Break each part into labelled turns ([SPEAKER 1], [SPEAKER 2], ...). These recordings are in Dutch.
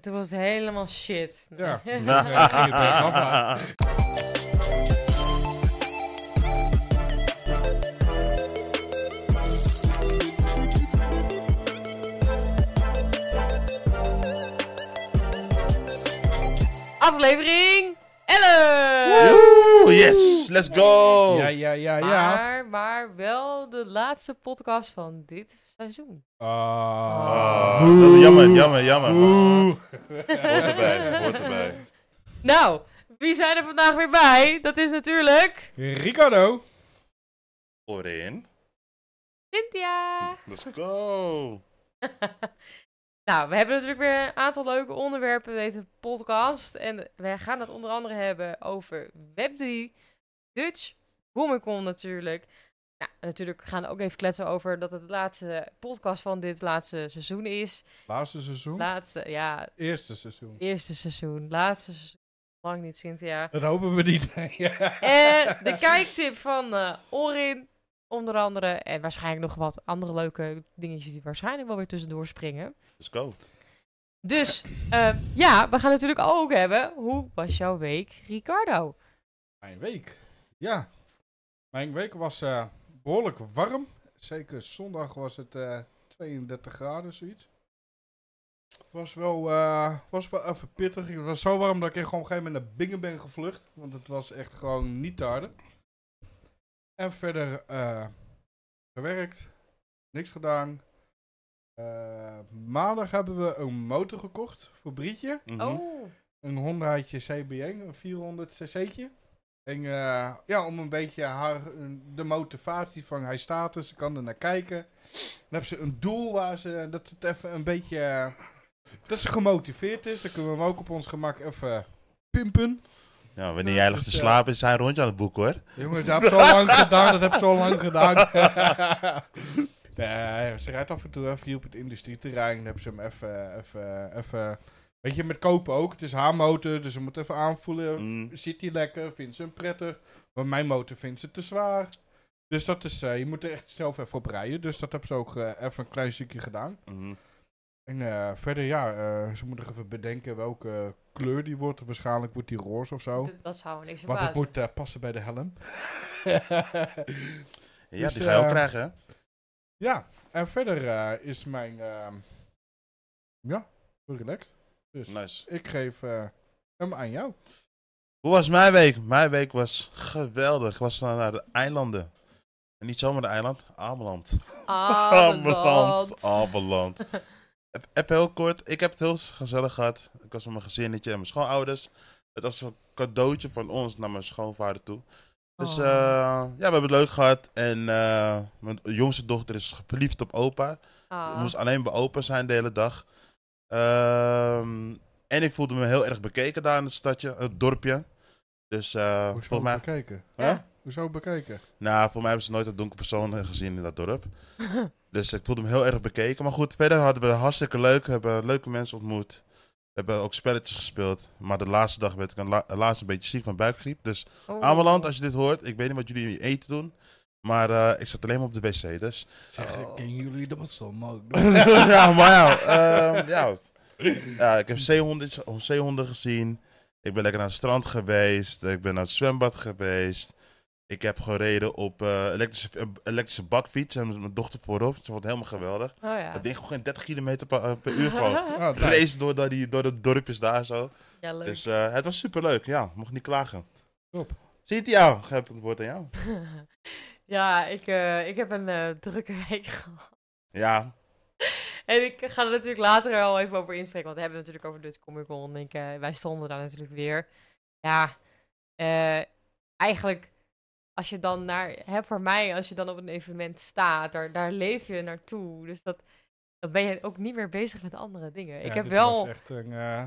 [SPEAKER 1] Toen was het helemaal shit.
[SPEAKER 2] Ja, ja ging het bergaf, maar-
[SPEAKER 1] Aflevering 11!
[SPEAKER 3] Woe, Oh, yes, let's go.
[SPEAKER 2] ja, ja, ja, ja.
[SPEAKER 1] Maar, maar wel de laatste podcast van dit seizoen.
[SPEAKER 2] Ah.
[SPEAKER 3] Ah, dat- jammer, jammer, jammer. maar
[SPEAKER 2] Oeh.
[SPEAKER 3] Hoort erbij, hoort erbij.
[SPEAKER 1] Nou, wie zijn er vandaag weer bij? Dat is natuurlijk
[SPEAKER 2] Ricardo.
[SPEAKER 3] Voorin.
[SPEAKER 1] Cynthia.
[SPEAKER 3] Let's go.
[SPEAKER 1] Nou, we hebben natuurlijk weer een aantal leuke onderwerpen in deze podcast. En we gaan het onder andere hebben over Web3, Dutch Comic Con natuurlijk. Nou, natuurlijk gaan we ook even kletsen over dat het de laatste podcast van dit laatste seizoen is.
[SPEAKER 2] Laatste
[SPEAKER 3] Oh.
[SPEAKER 2] seizoen.
[SPEAKER 1] Laatste, ja,
[SPEAKER 2] Eerste seizoen.
[SPEAKER 1] eerste seizoen, laatste seizoen. Lang niet, Cynthia.
[SPEAKER 2] Dat hopen we niet. nee.
[SPEAKER 1] En de kijktip van eh, Orin, onder andere. En waarschijnlijk nog wat andere leuke dingetjes die waarschijnlijk wel weer tussendoor springen.
[SPEAKER 3] Let's go.
[SPEAKER 1] Dus eh, ja, we gaan natuurlijk ook hebben. Hoe was jouw week, Ricardo?
[SPEAKER 2] Mijn week. Ja. Mijn week was eh, behoorlijk warm. Zeker zondag was het eh, 32 graden, zoiets. Was wel, eh, was wel even pittig. Het was zo warm dat ik er gewoon op een gegeven moment naar Bingen ben gevlucht. Want het was echt gewoon niet te harde. En verder eh, gewerkt. Niks gedaan. Eh, maandag hebben we een motor gekocht voor Brietje
[SPEAKER 3] Mhm.
[SPEAKER 1] Oh,
[SPEAKER 2] een Hondaatje CB1, een 400 cc'tje. En eh, ja, om een beetje haar, de motivatie van hij staat er, ze kan er naar kijken. Dan hebben ze een doel waar ze, dat het even een beetje, eh, dat ze gemotiveerd is. Dan kunnen we hem ook op ons gemak even pimpen.
[SPEAKER 3] Ja, wanneer jij
[SPEAKER 2] Dus,
[SPEAKER 3] ligt te
[SPEAKER 2] eh,
[SPEAKER 3] slapen is hij een rondje aan het boeken hoor.
[SPEAKER 2] Jongens, dat heb ik zo lang gedaan, dat heb ik zo lang gedaan. nee, ze rijdt af en toe even hier op het industrieterrein. Dan hebben ze hem even, even, even... Weet je, met kopen ook. Het is haar motor, dus ze moet even aanvoelen.
[SPEAKER 3] Mm.
[SPEAKER 2] Zit hij lekker? Vindt ze hem prettig? Maar mijn motor vindt ze te zwaar. Dus dat is... eh, je moet er echt zelf even op rijden. Dus dat heb ze ook eh, even een klein stukje gedaan.
[SPEAKER 3] Mhm.
[SPEAKER 2] En eh, verder, ja, eh, ze moeten nog even bedenken welke kleur die wordt. Waarschijnlijk wordt die roze of
[SPEAKER 3] Oh.
[SPEAKER 2] zo.
[SPEAKER 1] d- dat zou me niks
[SPEAKER 2] Want het
[SPEAKER 1] verbazen.
[SPEAKER 2] moet eh, passen bij de helm.
[SPEAKER 3] Ja,
[SPEAKER 2] Dus,
[SPEAKER 3] die ga je ook
[SPEAKER 2] eh,
[SPEAKER 3] krijgen hè.
[SPEAKER 2] ja, en verder eh, is mijn... ehm, ja, relaxed. Dus
[SPEAKER 3] Nice.
[SPEAKER 2] ik geef eh, hem aan jou.
[SPEAKER 3] Hoe was mijn week? Mijn week was geweldig. Ik was naar de eilanden. En niet zomaar de eiland, Ameland.
[SPEAKER 1] Ameland.
[SPEAKER 3] Ameland. Even- Even heel kort. Ik heb het heel gezellig gehad. Ik was met mijn gezinnetje en mijn schoonouders. Het was een cadeautje van ons naar mijn schoonvader toe. Dus
[SPEAKER 1] Oh.
[SPEAKER 3] eh, ja, we hebben het leuk gehad. En eh, mijn jongste dochter is verliefd op opa.
[SPEAKER 1] Ah.
[SPEAKER 3] Ik moest alleen bij opa zijn de hele dag. Ehm, en ik voelde me heel erg bekeken daar in het stadje, het dorpje. Dus eh
[SPEAKER 2] Hoezo
[SPEAKER 3] volgens mij,
[SPEAKER 2] bekeken?
[SPEAKER 1] Ja.
[SPEAKER 2] Hè? Hoezo bekeken?
[SPEAKER 3] nou, volgens mij hebben ze nooit een donkere persoon eh, gezien in dat dorp. Dus ik voelde hem heel erg bekeken. Maar goed, verder hadden we hartstikke leuk. We hebben leuke mensen ontmoet. We hebben ook spelletjes gespeeld. Maar de laatste dag werd ik een la- helaas een beetje ziek van buikgriep. Dus
[SPEAKER 1] Oh.
[SPEAKER 3] Ameland, als je dit hoort, ik weet niet wat jullie eten doen. Maar eh, ik zat alleen maar op de wc, dus...
[SPEAKER 1] Zeg, Oh. ken
[SPEAKER 2] jullie dat zo mogelijk?
[SPEAKER 3] ja, maar ja, ehm, ja.
[SPEAKER 2] Oh,
[SPEAKER 3] ja. Ik heb zeehonden, zeehonden gezien. Ik ben lekker naar het strand geweest. Ik ben naar het zwembad geweest. Ik heb gereden op eh, elektrische, eh, elektrische bakfiets. En mijn dochter voorop. Ze wordt helemaal geweldig.
[SPEAKER 1] Oh ja.
[SPEAKER 3] Dat ding gewoon geen 30 kilometer per, eh, per uur gewoon. Race door, dat die, door de dorpjes daar zo.
[SPEAKER 1] Ja, leuk.
[SPEAKER 3] Dus eh, het was superleuk, ja. Mocht niet klagen.
[SPEAKER 2] Top.
[SPEAKER 3] Cynthia, geef het woord aan jou.
[SPEAKER 1] ja, ik, eh, ik heb een eh, drukke week gehad.
[SPEAKER 3] Ja.
[SPEAKER 1] En ik ga er natuurlijk later al even over inspreken. Want we hebben het natuurlijk over Dutch Comic Con. En ik, eh, wij stonden daar natuurlijk weer. Ja, eh, eigenlijk als je dan naar... Hè, voor mij, als je dan op een evenement staat, daar, daar leef je naartoe. Dus dat, dan ben je ook niet meer bezig met andere dingen. ik heb wel...
[SPEAKER 2] echt een eh,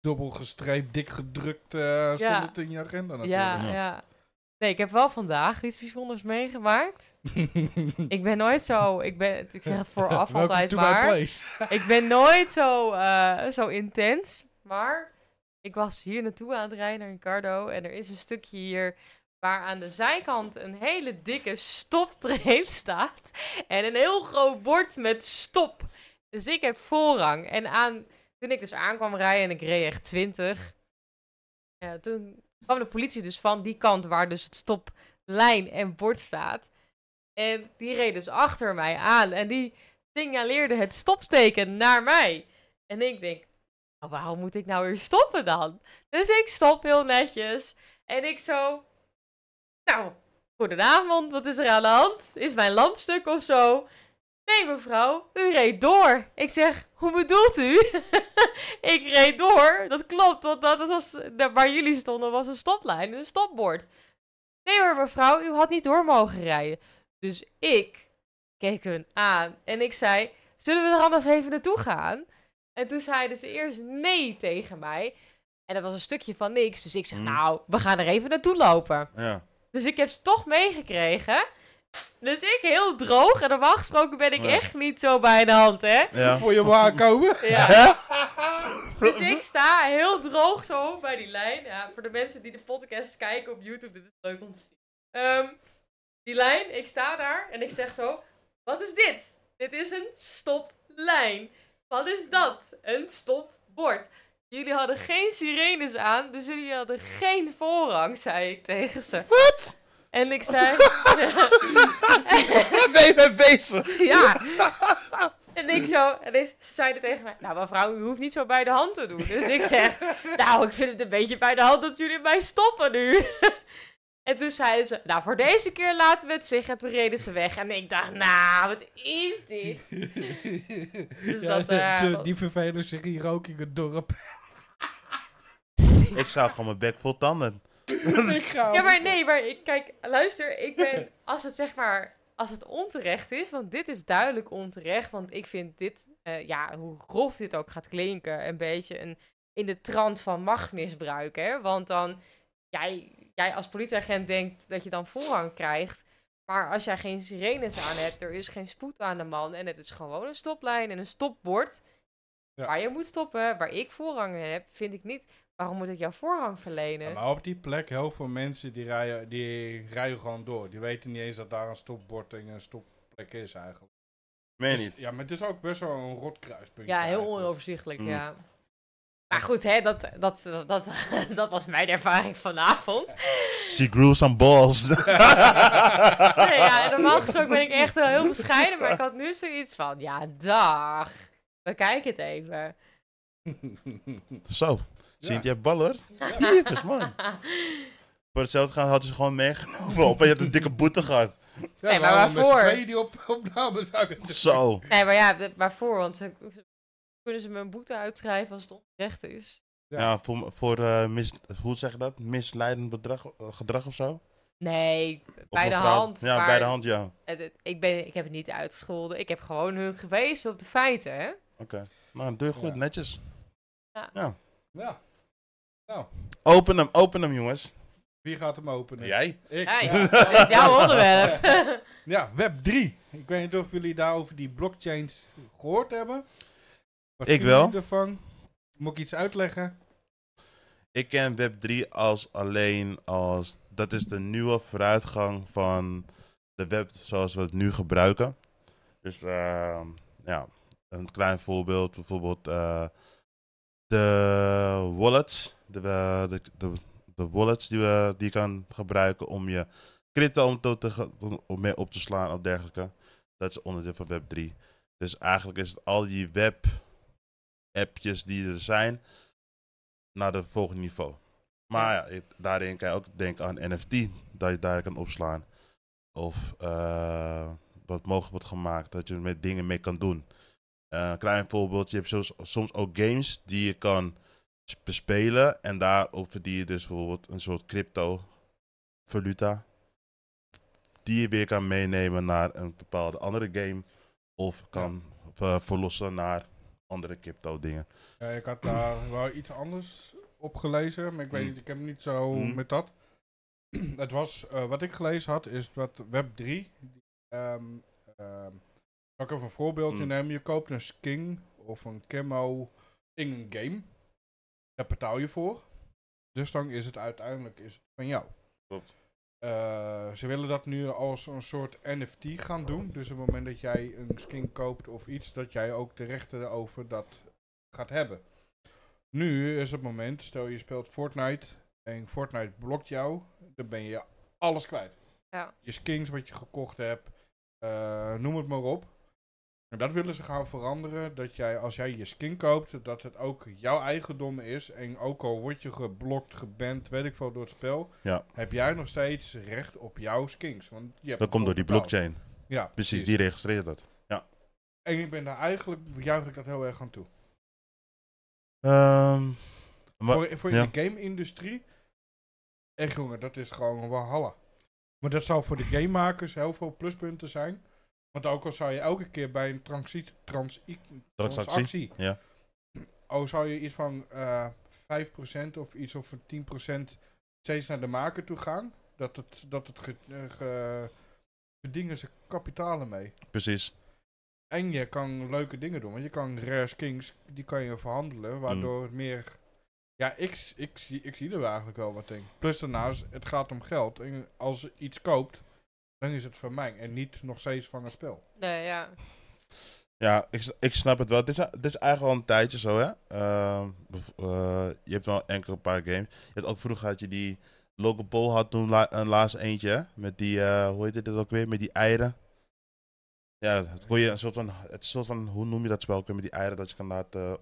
[SPEAKER 2] dubbel gestreept, dik gedrukt eh stond
[SPEAKER 1] Ja.
[SPEAKER 2] het in je agenda
[SPEAKER 1] Ja,
[SPEAKER 2] natuurlijk.
[SPEAKER 3] Ja.
[SPEAKER 1] ja. Nee, ik heb wel vandaag iets bijzonders meegemaakt.
[SPEAKER 2] Ja.
[SPEAKER 1] Ik ben nooit zo... Ik, ben, ik zeg het vooraf altijd maar...
[SPEAKER 2] place.
[SPEAKER 1] Ik ben nooit zo, eh, zo intens. Maar ik was hier naartoe aan het rijden naar Ricardo. En er is een stukje hier waar aan de zijkant een hele dikke stoptreep staat. En een heel groot bord met stop. Dus ik heb voorrang. En aan Toen ik dus aankwam rijden en ik reed echt 20. eh, toen kwam de politie dus van die kant waar dus het stoplijn en bord staat. En die reed dus achter mij aan. En die signaleerde het stopsteken naar mij. En ik denk, nou, waarom moet ik nou weer stoppen dan? Dus ik stop heel netjes. En ik zo, nou, goedenavond, wat is er aan de hand? Is mijn lamp stuk of zo? Nee, mevrouw, u reed door. Ik zeg, hoe bedoelt u? ik reed door. Dat klopt, want dat was, daar waar jullie stonden was een stoplijn, een stopbord. Nee hoor, mevrouw, u had niet door mogen rijden. Dus ik keek hun aan en ik zei, zullen we er anders even naartoe gaan? En toen zei hij dus eerst nee tegen mij. En dat was een stukje van niks. Dus ik zeg,
[SPEAKER 3] Mm.
[SPEAKER 1] nou, we gaan er even naartoe lopen.
[SPEAKER 3] Ja.
[SPEAKER 1] Dus ik heb ze toch meegekregen. Dus ik heel droog. En normaal gesproken ben ik
[SPEAKER 3] Ja.
[SPEAKER 1] echt niet zo bij de hand, hè?
[SPEAKER 3] ja.
[SPEAKER 2] Voor je waar komen.
[SPEAKER 1] Ja.
[SPEAKER 3] Hè?
[SPEAKER 1] Dus ik sta heel droog zo bij die lijn. Ja, voor de mensen die de podcast kijken op YouTube, dit is leuk om te zien. Ehm, die lijn, ik sta daar en ik zeg zo: Wat is dit? Dit is een stoplijn. Wat is dat? Een stopbord. Jullie hadden geen sirenes aan, dus jullie hadden geen voorrang, zei ik tegen ze. Wat? En ik zei.
[SPEAKER 3] Waar ben je mee bezig?
[SPEAKER 1] Ja. En ik zo, en ze zeiden tegen mij, nou mevrouw, u hoeft niet zo bij de hand te doen. Dus ik zeg, nou, ik vind het een beetje bij de hand dat jullie mij stoppen nu. En toen zeiden ze, nou, voor deze keer laten we het zich. En toen reden ze weg. En ik dacht, nou, wat is dit?
[SPEAKER 2] ja,
[SPEAKER 1] dat, eh,
[SPEAKER 2] ze-
[SPEAKER 1] dat-
[SPEAKER 2] die vervelen zich hier ook in het dorp.
[SPEAKER 3] Ik zou gewoon mijn bek vol tanden.
[SPEAKER 2] ik ga
[SPEAKER 1] Ja, maar nee, maar ik, kijk, luister, ik ben, als het zeg maar, als het onterecht is, want dit is duidelijk onterecht, want ik vind dit, eh, ja, hoe grof dit ook gaat klinken, een beetje een, in de trant van machtmisbruik, hè, want dan, jij, jij als politieagent denkt dat je dan voorrang krijgt, maar als jij geen sirenes aan hebt, er is geen spoed aan de man en het is gewoon een stoplijn en een stopbord
[SPEAKER 2] Ja.
[SPEAKER 1] waar je moet stoppen, waar ik voorrang in heb, vind ik niet, waarom moet ik jou voorrang verlenen?
[SPEAKER 2] maar op die plek, heel veel mensen die rijden, die rijden gewoon door. Die weten niet eens dat daar een stopbord en een stopplek is eigenlijk.
[SPEAKER 3] Meen je
[SPEAKER 2] Dus-
[SPEAKER 3] niet.
[SPEAKER 2] Ja, maar het is ook best wel een rot kruispunt.
[SPEAKER 1] Ja, heel onoverzichtelijk,
[SPEAKER 3] Mm.
[SPEAKER 1] ja. Maar goed, hè, dat, dat, dat, dat was mijn ervaring vanavond.
[SPEAKER 3] She grew some balls.
[SPEAKER 1] Nee, ja, en normaal gesproken ben ik echt wel heel bescheiden, maar ik had nu zoiets van, ja, dag. We kijken het even.
[SPEAKER 3] Zo. Zie je,
[SPEAKER 2] Ja.
[SPEAKER 3] je hebt ballen hoor. Jezus, man. Voor hetzelfde gaan hadden ze gewoon meegenomen. Op en je had een dikke boete gehad.
[SPEAKER 1] Nee, maar waarvoor?
[SPEAKER 2] twee die op, opname zouden doen.
[SPEAKER 3] Zo.
[SPEAKER 1] Nee, maar ja, d- waarvoor? Want ze, ze- kunnen ze me een boete uitschrijven als het onterecht is?
[SPEAKER 2] Ja.
[SPEAKER 3] Ja, voor, voor eh, mis, hoe zeg je dat? Misleidend bedrag, eh, gedrag of zo? Of
[SPEAKER 1] Nee, bij
[SPEAKER 3] een
[SPEAKER 1] de
[SPEAKER 3] vrouw-
[SPEAKER 1] hand.
[SPEAKER 3] Ja,
[SPEAKER 1] maar
[SPEAKER 3] bij de hand, ja. Oké.
[SPEAKER 1] het- het- ik, ben, ik heb het niet uitgescholden. Ik heb gewoon hun gewezen op de feiten, hè?
[SPEAKER 3] Maar doe je goed,
[SPEAKER 2] Ja.
[SPEAKER 3] netjes.
[SPEAKER 2] Ja.
[SPEAKER 3] Open hem, open hem jongens.
[SPEAKER 2] Wie gaat hem openen?
[SPEAKER 3] Jij?
[SPEAKER 2] Ik.
[SPEAKER 1] Ja, ja, dat is jouw onderwerp.
[SPEAKER 2] Ja, Web 3. Ik weet niet of jullie daar over die blockchains gehoord hebben. Wat
[SPEAKER 3] Ik
[SPEAKER 2] vinden
[SPEAKER 3] wel.
[SPEAKER 2] jullie Ervan? Moet ik iets uitleggen?
[SPEAKER 3] Ik ken Web3 als alleen als... Dat is de nieuwe vooruitgang van de web zoals we het nu gebruiken. Dus ehm, ja, een klein voorbeeld. Bijvoorbeeld eh, de wallets. De, eh, de, de, de wallets die, we, die je kan gebruiken om je crypto om te, te, ge- om mee op te slaan of dergelijke. Dat is onderdeel van Web3. Dus eigenlijk is het al die web-appjes die er zijn naar het volgende niveau. Maar ja, ik- daarin kan je ook denken aan NFT, dat je daar kan opslaan. Of eh, wat mogelijk wordt gemaakt, dat je er met dingen mee kan doen. Eh, Een klein voorbeeld, je hebt soms, soms ook games die je kan s- bespelen. En daarop verdien je dus bijvoorbeeld een soort crypto valuta. Die je weer kan meenemen naar een bepaalde andere game. Of kan eh, verlossen naar andere crypto dingen.
[SPEAKER 2] Ja, ik had daar wel iets anders op gelezen, maar ik weet
[SPEAKER 3] Hmm.
[SPEAKER 2] niet, ik heb niet zo
[SPEAKER 3] Hmm.
[SPEAKER 2] met dat. Het was, eh, wat ik gelezen had, is dat Web 3. Ehm ehm, zal ik even een voorbeeldje
[SPEAKER 3] Hmm.
[SPEAKER 2] nemen? Je koopt een skin of een camo in een game. Daar betaal je voor. Dus dan is het uiteindelijk is het van jou.
[SPEAKER 3] Klopt.
[SPEAKER 2] Eh, ze willen dat nu als een soort NFT gaan doen. Dus op het moment dat jij een skin koopt of iets, dat jij ook de rechten over dat gaat hebben. Nu is het moment, stel je speelt Fortnite en Fortnite blokt jou, dan ben je alles kwijt.
[SPEAKER 1] Ja.
[SPEAKER 2] Je skins wat je gekocht hebt, eh, noem het maar op. En dat willen ze gaan veranderen, dat jij als jij je skin koopt, dat het ook jouw eigendom is. En ook al word je geblokt, geband, weet ik veel door het spel,
[SPEAKER 3] Ja.
[SPEAKER 2] heb jij nog steeds recht op jouw skins. Want je hebt
[SPEAKER 3] Dat komt door die
[SPEAKER 2] ervoor betaald.
[SPEAKER 3] blockchain.
[SPEAKER 2] Ja,
[SPEAKER 3] Precies, die registreert dat.
[SPEAKER 2] En ik ben daar eigenlijk, juich ik dat heel erg aan toe.
[SPEAKER 3] Ehm, Maar-
[SPEAKER 2] voor voor
[SPEAKER 3] ja.
[SPEAKER 2] de game-industrie, echt jongen, dat is gewoon een walhalla. Maar dat zou voor de gamemakers heel veel pluspunten zijn. Want ook al zou je elke keer bij een transit, trans,
[SPEAKER 3] transactie.
[SPEAKER 2] transactie,
[SPEAKER 3] ja.
[SPEAKER 2] oh, zou je iets van eh 5% of iets of een 10% steeds naar de maker toe gaan, dat het, dat het ge, eh, ge- verdienen ze kapitalen mee.
[SPEAKER 3] Precies.
[SPEAKER 2] En je kan leuke dingen doen. Want je kan rare skins, die kan je verhandelen. Waardoor het meer... Ja, ik, s- ik, zie, ik zie er eigenlijk wel wat in. Plus daarnaast, het gaat om geld. En als je iets koopt, dan is het van mij. En niet nog steeds van een spel.
[SPEAKER 1] Nee, ja.
[SPEAKER 3] Ja, ik, s- ik snap het wel. Het is, dit is eigenlijk al een tijdje zo, hè? Ehm, bev- eh, je hebt wel enkele paar games. Je had ook vroeger had je die... Local Paul had toen la- een laatste eentje, hè? Met die, eh, hoe heet dit ook weer? Met die eieren. Ja, het kon je een soort van, het soort van, hoe noem je dat spel? ook weer Met die eieren dat je kan laten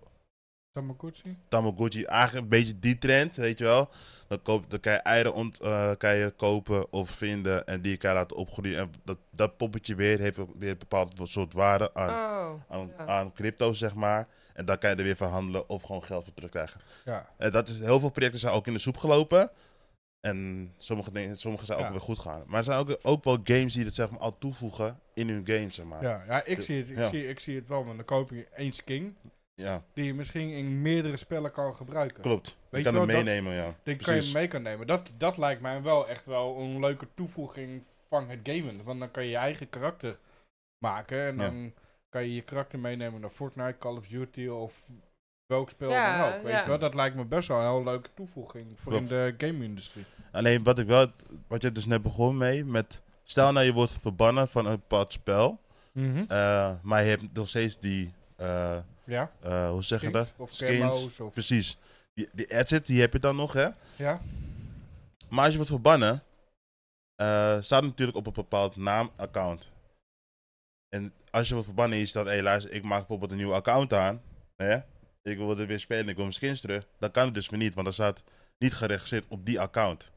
[SPEAKER 2] Tamagotchi?
[SPEAKER 3] Tamagotchi, eigenlijk een beetje die trend, weet je wel. Dan, koop, dan kan je eieren ont, eh, kan je kopen of vinden en die kan je laten opgroeien. En dat, dat poppetje weer heeft ook weer een bepaald soort waarde aan,
[SPEAKER 1] Oh.
[SPEAKER 3] aan,
[SPEAKER 1] ja.
[SPEAKER 3] aan crypto, zeg maar. En dan kan je er weer van handelen of gewoon geld voor terugkrijgen.
[SPEAKER 2] Ja.
[SPEAKER 3] En dat is, heel veel projecten zijn ook in de soep gelopen. En sommige, dingen, sommige zijn ook
[SPEAKER 2] Ja.
[SPEAKER 3] weer goed gegaan. Maar er zijn ook, ook wel games die dat zeg maar al toevoegen in hun game, zeg maar. Ja.
[SPEAKER 2] Ja, ja, ik, zie het, ik,
[SPEAKER 3] Dus, Ja.
[SPEAKER 2] zie, ik zie het wel. Want dan koop je één skin. Die je misschien in meerdere spellen kan gebruiken.
[SPEAKER 3] klopt.
[SPEAKER 2] Weet
[SPEAKER 3] je kan
[SPEAKER 2] je
[SPEAKER 3] het
[SPEAKER 2] wel, dat-
[SPEAKER 3] meenemen, ja.
[SPEAKER 2] Die kan je
[SPEAKER 3] Precies.
[SPEAKER 2] mee kan nemen. Dat, dat lijkt mij wel echt wel een leuke toevoeging van het gamen. Want dan kan je je eigen karakter maken. En
[SPEAKER 3] Ja.
[SPEAKER 2] dan kan je je karakter meenemen naar Fortnite, Call of Duty of welk spel
[SPEAKER 1] Ja,
[SPEAKER 2] dan ook. Weet
[SPEAKER 1] ja.
[SPEAKER 2] je wel? Dat lijkt me best wel een heel leuke toevoeging voor in
[SPEAKER 3] Klopt.
[SPEAKER 2] de game-industrie.
[SPEAKER 3] Alleen wat ik wel, wat je dus net begon mee, met stel nou je wordt verbannen van een bepaald spel,
[SPEAKER 2] Mhm.
[SPEAKER 3] eh, maar je hebt nog steeds die, eh,
[SPEAKER 2] Ja,
[SPEAKER 3] eh, hoe zeg je dat?
[SPEAKER 2] skins of
[SPEAKER 3] skins.
[SPEAKER 2] camo's. Of,
[SPEAKER 3] Precies, die, die asset die heb je dan nog hè.
[SPEAKER 2] ja,
[SPEAKER 3] Maar als je wordt verbannen, eh, staat het natuurlijk op een bepaald naamaccount. En als je wordt verbannen is dat, hé luister, ik maak bijvoorbeeld een nieuw account aan, hè? ik wil er weer spelen, ik wil mijn skins terug, dan kan het dus weer niet, want dan staat niet geregistreerd op die account.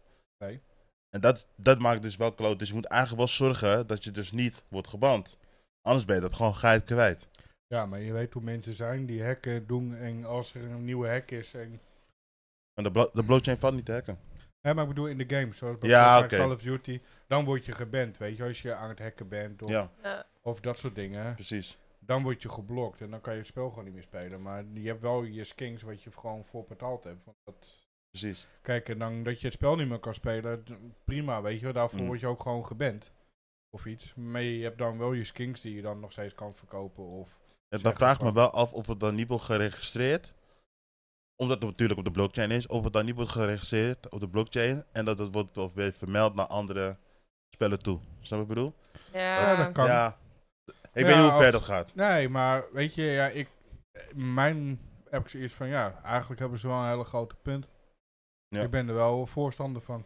[SPEAKER 2] Nee.
[SPEAKER 3] En dat, dat maakt dus wel kloot. Dus je moet eigenlijk wel zorgen dat je dus niet wordt geband. Anders ben je dat gewoon geit kwijt.
[SPEAKER 2] ja, maar je weet hoe mensen zijn die hacken doen. En als er een nieuwe hack is. En,
[SPEAKER 3] En de, blo- de blockchain valt niet te hacken.
[SPEAKER 2] ja, maar ik bedoel in de game, zoals bij
[SPEAKER 3] Ja,
[SPEAKER 2] Fortnite,
[SPEAKER 3] oké.
[SPEAKER 2] Call of Duty. Dan word je geband, weet je, als je aan het hacken bent. Of,
[SPEAKER 3] Ja,
[SPEAKER 1] Ja.
[SPEAKER 2] of dat soort dingen.
[SPEAKER 3] precies.
[SPEAKER 2] dan word je geblokt en dan kan je het spel gewoon niet meer spelen. Maar je hebt wel je skins wat je gewoon voor betaald hebt. Want dat...
[SPEAKER 3] Precies.
[SPEAKER 2] Kijk, en dan dat je het spel niet meer kan spelen, d- prima, weet je wel. Daarvoor
[SPEAKER 3] Mm.
[SPEAKER 2] word je ook gewoon geband. Of iets. Maar je hebt dan wel je skins die je dan nog steeds kan verkopen. Of...
[SPEAKER 3] En dan
[SPEAKER 2] Zeg
[SPEAKER 3] vraag ik
[SPEAKER 2] het
[SPEAKER 3] me wel af of het dan niet wordt geregistreerd. Omdat het natuurlijk op de blockchain is. Of het dan niet wordt geregistreerd op de blockchain. En dat het wordt wel weer vermeld naar andere spellen toe. Snap je wat ik bedoel?
[SPEAKER 1] Ja.
[SPEAKER 2] dat kan.
[SPEAKER 3] Ja. Ik
[SPEAKER 2] Ja,
[SPEAKER 3] weet niet hoe ver
[SPEAKER 2] als-
[SPEAKER 3] dat gaat.
[SPEAKER 2] Nee, maar weet je, ja, ik, eh, mijn heb ik zoiets van, ja, eigenlijk hebben ze wel een hele grote punt.
[SPEAKER 3] Ja.
[SPEAKER 2] Ik ben er wel voorstander van.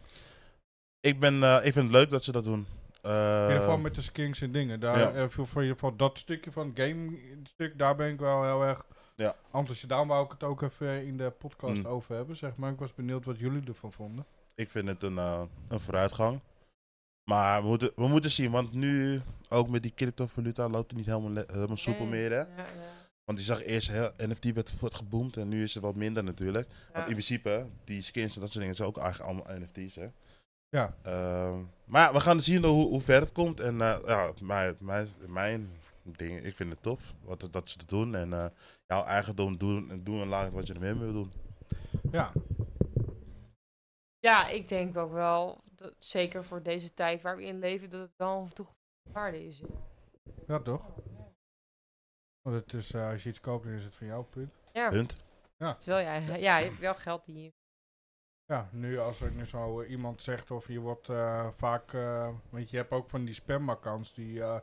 [SPEAKER 3] Ik, ben, eh, ik vind het leuk dat ze dat doen.
[SPEAKER 2] In ieder geval
[SPEAKER 3] Eh,
[SPEAKER 2] met de skins en dingen. Daar,
[SPEAKER 3] ja.
[SPEAKER 2] eh, voor, voor in ieder geval dat stukje van het game stuk, daar ben ik wel heel erg
[SPEAKER 3] Ja.
[SPEAKER 2] enthousiast. Daarom wou ik het ook even in de podcast
[SPEAKER 3] Mm.
[SPEAKER 2] over hebben, zeg maar. Ik was benieuwd wat jullie ervan vonden.
[SPEAKER 3] ik vind het een, eh, een vooruitgang. Maar we moeten, we moeten zien, want nu ook met die cryptovaluta loopt het niet helemaal, le- helemaal soepel
[SPEAKER 1] Nee.
[SPEAKER 3] meer. Hè?
[SPEAKER 1] Ja, ja.
[SPEAKER 3] Want je zag eerst heel, NFT werd wordt geboomd en nu is het wat minder natuurlijk. Want in
[SPEAKER 1] Ja.
[SPEAKER 3] principe, die skins en dat soort dingen zijn ook eigenlijk allemaal NFT's. Hè?
[SPEAKER 2] Ja.
[SPEAKER 3] Ehm, maar we gaan zien hoe, hoe ver het komt. En eh, ja, mijn, mijn, mijn ding, ik vind het tof wat, het- dat ze het doen. En eh, jouw eigendom doen, doen en laten wat je ermee wil doen.
[SPEAKER 2] Ja,
[SPEAKER 1] Ja, ik denk ook wel, dat, zeker voor deze tijd waar we in leven, dat het wel een toegevoegde waarde is.
[SPEAKER 2] ja toch? Want het is, eh, als je iets koopt, dan is het van jouw punt.
[SPEAKER 1] Ja,
[SPEAKER 3] Punt.
[SPEAKER 1] terwijl jij, ja, je hebt wel geld die je...
[SPEAKER 2] Ja, nu als er nu zo eh, iemand zegt of je wordt eh, vaak... eh, want je hebt ook van die spamaccounts die eh,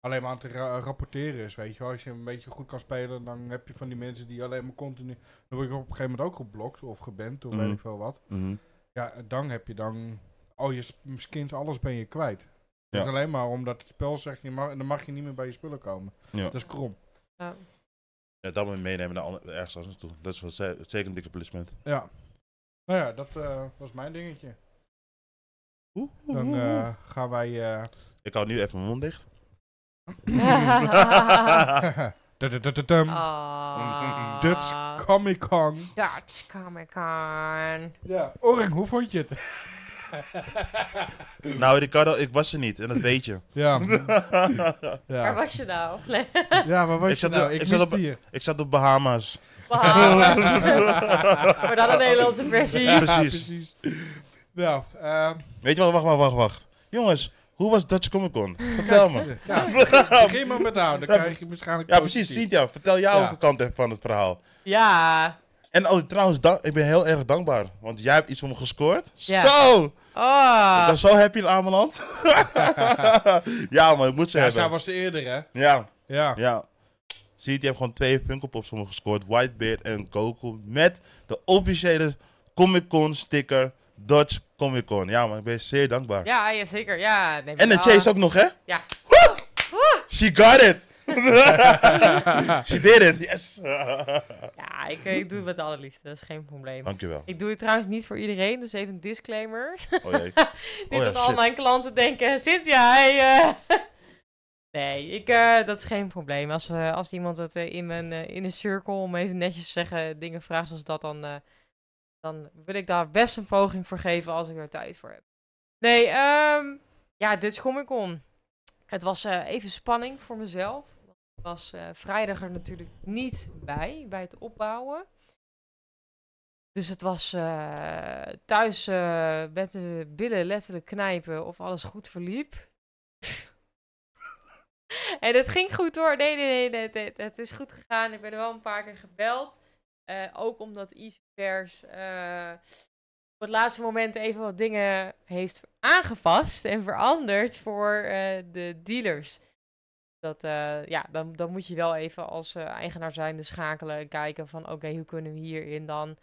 [SPEAKER 2] alleen maar aan te ra- rapporteren is, weet je wel. Als je een beetje goed kan spelen, dan heb je van die mensen die alleen maar continu... Dan word je op een gegeven moment ook geblokt of geband of
[SPEAKER 3] Mhm.
[SPEAKER 2] weet ik veel wat.
[SPEAKER 3] Mhm.
[SPEAKER 2] Ja, en dan heb je dan... Al je sp- skins, alles ben je kwijt. Dat is alleen maar omdat het spel zegt, je mag, dan mag je niet meer bij je spullen komen.
[SPEAKER 3] Ja.
[SPEAKER 2] Dat is krom.
[SPEAKER 1] Ja.
[SPEAKER 3] Dus, Ja, dat moet je meenemen naar ander- ergens anders toe. Dat is wel ze- zeker een dikke placement.
[SPEAKER 2] Ja. Nou ja, dat eh, was mijn dingetje. Dan
[SPEAKER 3] Oeh, oeh, oeh.
[SPEAKER 2] eh, gaan wij... eh,
[SPEAKER 3] Ik hou nu even mijn mond dicht. Ah.
[SPEAKER 2] Dududududum.
[SPEAKER 1] Ah.
[SPEAKER 2] Dutch Comic Con.
[SPEAKER 1] Dutch Comic Con.
[SPEAKER 2] Ja. Oring, hoe vond je het?
[SPEAKER 3] nou, Ricardo, ik was er niet en dat weet je.
[SPEAKER 2] Ja.
[SPEAKER 1] Waar
[SPEAKER 2] Ja,
[SPEAKER 1] was je nou? Nee.
[SPEAKER 2] ja maar was
[SPEAKER 3] Ik
[SPEAKER 2] je
[SPEAKER 3] zat
[SPEAKER 2] nou?
[SPEAKER 3] er-
[SPEAKER 2] Ik,
[SPEAKER 3] ik
[SPEAKER 2] zat
[SPEAKER 3] zat op-
[SPEAKER 2] hier.
[SPEAKER 3] ik zat op Bahamas.
[SPEAKER 1] Bahamas. Maar dan een Nederlandse versie.
[SPEAKER 3] Precies.
[SPEAKER 2] precies. Nou, ehm,
[SPEAKER 3] Weet je wat, wacht, wacht, wacht, wacht. Jongens, hoe was Dutch Comic Con? Vertel me.
[SPEAKER 2] ja, begin- begin maar met nou, dan
[SPEAKER 3] Ja,
[SPEAKER 2] krijg je waarschijnlijk...
[SPEAKER 3] Ja,
[SPEAKER 2] positief.
[SPEAKER 3] precies, Cynthia, vertel jouw
[SPEAKER 2] Ja.
[SPEAKER 3] kant even van het verhaal.
[SPEAKER 1] Ja.
[SPEAKER 3] En oh, trouwens, dan- ik ben heel erg dankbaar, want jij hebt iets voor me gescoord.
[SPEAKER 1] Ja.
[SPEAKER 3] Zo! Ik
[SPEAKER 1] Oh.
[SPEAKER 3] ben zo happy in Ameland. ja, maar ik moet ze
[SPEAKER 2] Ja, zij
[SPEAKER 3] hebben.
[SPEAKER 2] was eerder, hè?
[SPEAKER 3] Ja,
[SPEAKER 2] Ja.
[SPEAKER 3] ja. Zie je, die hebben gewoon twee Funko Pops voor me gescoord. Whitebeard en Goku. Met de officiële Comic Con sticker. Dutch Comic Con. Ja, maar ik ben zeer dankbaar.
[SPEAKER 1] Ja, ja, zeker. Ja. neem
[SPEAKER 3] En de
[SPEAKER 1] je
[SPEAKER 3] Chase
[SPEAKER 1] aan.
[SPEAKER 3] ook nog, hè?
[SPEAKER 1] Ja.
[SPEAKER 3] Woe! She got it! She did it, yes!
[SPEAKER 1] Ja, ik, ik doe het met de allerliefste. Dat is geen probleem.
[SPEAKER 3] Dankjewel.
[SPEAKER 1] Ik doe het trouwens niet voor iedereen, dus even een disclaimer.
[SPEAKER 3] Oh jee.
[SPEAKER 1] Niet
[SPEAKER 3] ja,
[SPEAKER 1] dat al
[SPEAKER 3] shit.
[SPEAKER 1] mijn klanten denken, Cynthia, hey, eh." Nee, ik, eh, dat is geen probleem. Als, eh, als iemand het eh, in, mijn, eh, in een cirkel, om even netjes te zeggen, dingen vraagt zoals dat, dan, eh, dan wil ik daar best een poging voor geven als ik er tijd voor heb. Nee, ehm ja, Dutch Comic Con. Het was eh, even spanning voor mezelf. Ik was eh, vrijdag er natuurlijk niet bij, bij het opbouwen. Dus het was eh, thuis eh, met de billen letterlijk knijpen of alles goed verliep. en het ging goed hoor. Nee, nee, nee, nee, nee, Het is goed gegaan. Ik ben er wel een paar keer gebeld. Eh, ook omdat Isvers eh op het laatste moment even wat dingen heeft aangepast en veranderd voor eh, de dealers. Dat, eh, ja, dan, dan moet je wel even als eh, eigenaar zijnde schakelen en kijken van oké, hoe kunnen we hierin dan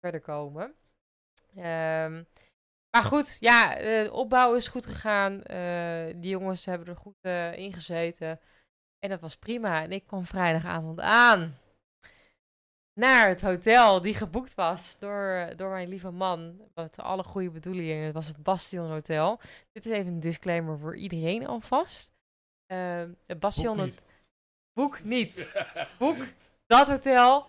[SPEAKER 1] verder komen. Ehm, maar goed, ja, eh, de opbouw is goed gegaan. Eh, die jongens hebben er goed eh, in gezeten. En dat was prima. En ik kwam vrijdagavond aan. Naar het hotel die geboekt was door, eh, door mijn lieve man. Met alle goede bedoelingen. Het was het Bastion Hotel. Dit is even een disclaimer voor iedereen alvast. Ehm, het Bastion
[SPEAKER 2] Boek
[SPEAKER 1] Hot-
[SPEAKER 2] niet.
[SPEAKER 1] Boek niet. Boek dat hotel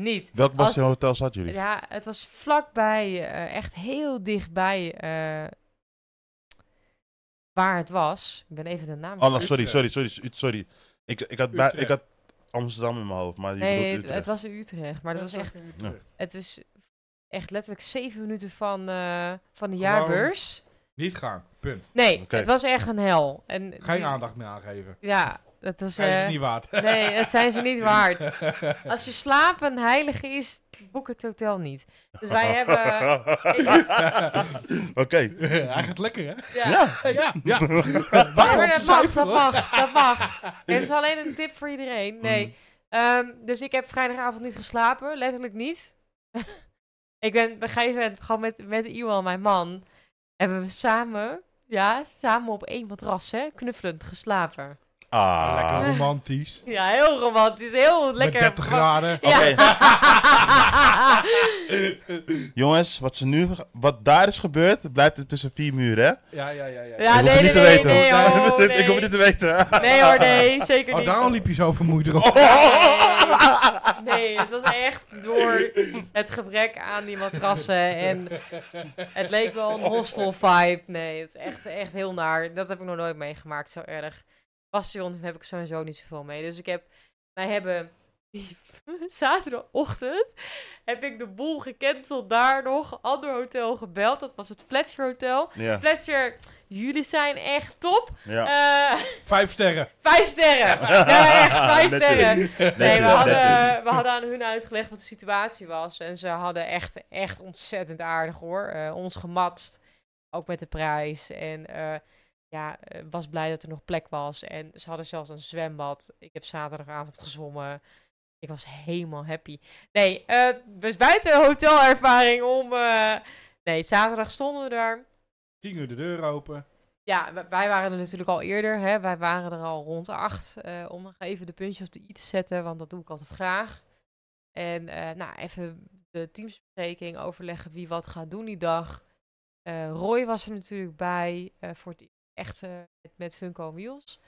[SPEAKER 1] niet.
[SPEAKER 3] Welk
[SPEAKER 1] Als-
[SPEAKER 3] Bastion Hotel zat jullie?
[SPEAKER 1] Ja, het was vlakbij, eh, echt heel dichtbij eh, waar het was. Ik ben even de naam.
[SPEAKER 3] Oh, nou,
[SPEAKER 1] kwijt.
[SPEAKER 3] sorry, sorry, sorry, sorry, sorry. Ik, ik, had, bij- ik
[SPEAKER 2] Utrecht.
[SPEAKER 3] had Amsterdam in mijn hoofd, maar je
[SPEAKER 1] Nee,
[SPEAKER 3] bedoelt
[SPEAKER 1] het, het
[SPEAKER 3] Utrecht.
[SPEAKER 1] was in Utrecht. Maar het was echt, het was echt letterlijk zeven minuten van, eh, van de
[SPEAKER 2] Gewoon-
[SPEAKER 1] jaarbeurs.
[SPEAKER 2] Niet gaan, punt.
[SPEAKER 1] Nee,
[SPEAKER 3] Oké.
[SPEAKER 1] het was echt een hel. En
[SPEAKER 2] Geen
[SPEAKER 1] die-
[SPEAKER 2] aandacht meer aangeven.
[SPEAKER 1] Ja, dat was...
[SPEAKER 2] Zij is
[SPEAKER 1] eh,
[SPEAKER 2] het niet
[SPEAKER 1] Nee,
[SPEAKER 2] waard.
[SPEAKER 1] het zijn ze niet waard. Als je slapen heilig is, boek het hotel niet. Dus wij hebben...
[SPEAKER 3] Oké.
[SPEAKER 2] Hij gaat lekker, hè?
[SPEAKER 1] Ja.
[SPEAKER 2] Ja, ja.
[SPEAKER 1] Ja, maar dat mag, dat
[SPEAKER 2] Zuiveren.
[SPEAKER 1] mag, dat mag. En het is alleen een tip voor iedereen. Nee. Ehm, dus ik heb vrijdagavond niet geslapen, letterlijk niet. ik ben op een gegeven moment gewoon met, met Iwan, mijn man, hebben we samen, ja, samen op één matras, hè, knuffelend geslapen.
[SPEAKER 3] Ah.
[SPEAKER 2] Lekker romantisch.
[SPEAKER 1] Ja, heel romantisch, heel lekker.
[SPEAKER 2] Met 30 graden.
[SPEAKER 1] Ja.
[SPEAKER 3] Oké. Jongens, wat, ze nu, wat daar is gebeurd, blijft het tussen vier muren, hè?
[SPEAKER 2] Ja, ja, ja. ja.
[SPEAKER 1] Ja,
[SPEAKER 3] ik hoef
[SPEAKER 1] nee,
[SPEAKER 3] het
[SPEAKER 1] nee,
[SPEAKER 3] niet te
[SPEAKER 1] nee,
[SPEAKER 3] weten.
[SPEAKER 1] nee, oh,
[SPEAKER 3] Ik hoef het
[SPEAKER 1] nee.
[SPEAKER 3] niet te weten.
[SPEAKER 1] Nee hoor, nee, zeker
[SPEAKER 2] Oh,
[SPEAKER 1] niet.
[SPEAKER 2] daarom liep je zo vermoeid
[SPEAKER 3] Oh.
[SPEAKER 2] erop.
[SPEAKER 1] Nee. Nee, het was echt door het gebrek aan die matrassen. En het leek wel een hostel vibe. Nee, het is echt, echt heel naar. Dat heb ik nog nooit meegemaakt, zo erg. Bastion heb ik sowieso niet zoveel mee. Dus ik heb, wij hebben die zaterdagochtend heb ik de boel gecanceld daar nog. Ander hotel gebeld, dat was het Fletcher Hotel.
[SPEAKER 3] Ja,
[SPEAKER 1] Fletcher, jullie zijn echt top.
[SPEAKER 3] ja.
[SPEAKER 1] Eh,
[SPEAKER 2] Vijf sterren.
[SPEAKER 1] Vijf sterren. Nee, Eh, echt vijf
[SPEAKER 3] Netjes.
[SPEAKER 1] sterren. Nee, we
[SPEAKER 3] Netjes, netjes.
[SPEAKER 1] hadden, eh, we hadden aan hun uitgelegd wat de situatie was. En ze hadden echt, echt ontzettend aardig hoor. eh, ons gematst. Ook met de prijs. En eh, ja, eh, was blij dat er nog plek was. En ze hadden zelfs een zwembad. Ik heb zaterdagavond gezwommen. Ik was helemaal happy. Nee, eh dus buiten hotelervaring om... eh, nee, zaterdag stonden we daar.
[SPEAKER 2] Tien uur de deur open.
[SPEAKER 1] Ja, w- wij waren er natuurlijk al eerder. Hè? Wij waren er al rond acht. eh, om nog even de puntjes op de i te zetten, want dat doe ik altijd graag. En eh, nou, even de teamsbespreking, overleggen wie wat gaat doen die dag. Eh, Roy was er natuurlijk bij eh, voor het echt eh, met, met Funko Wheels.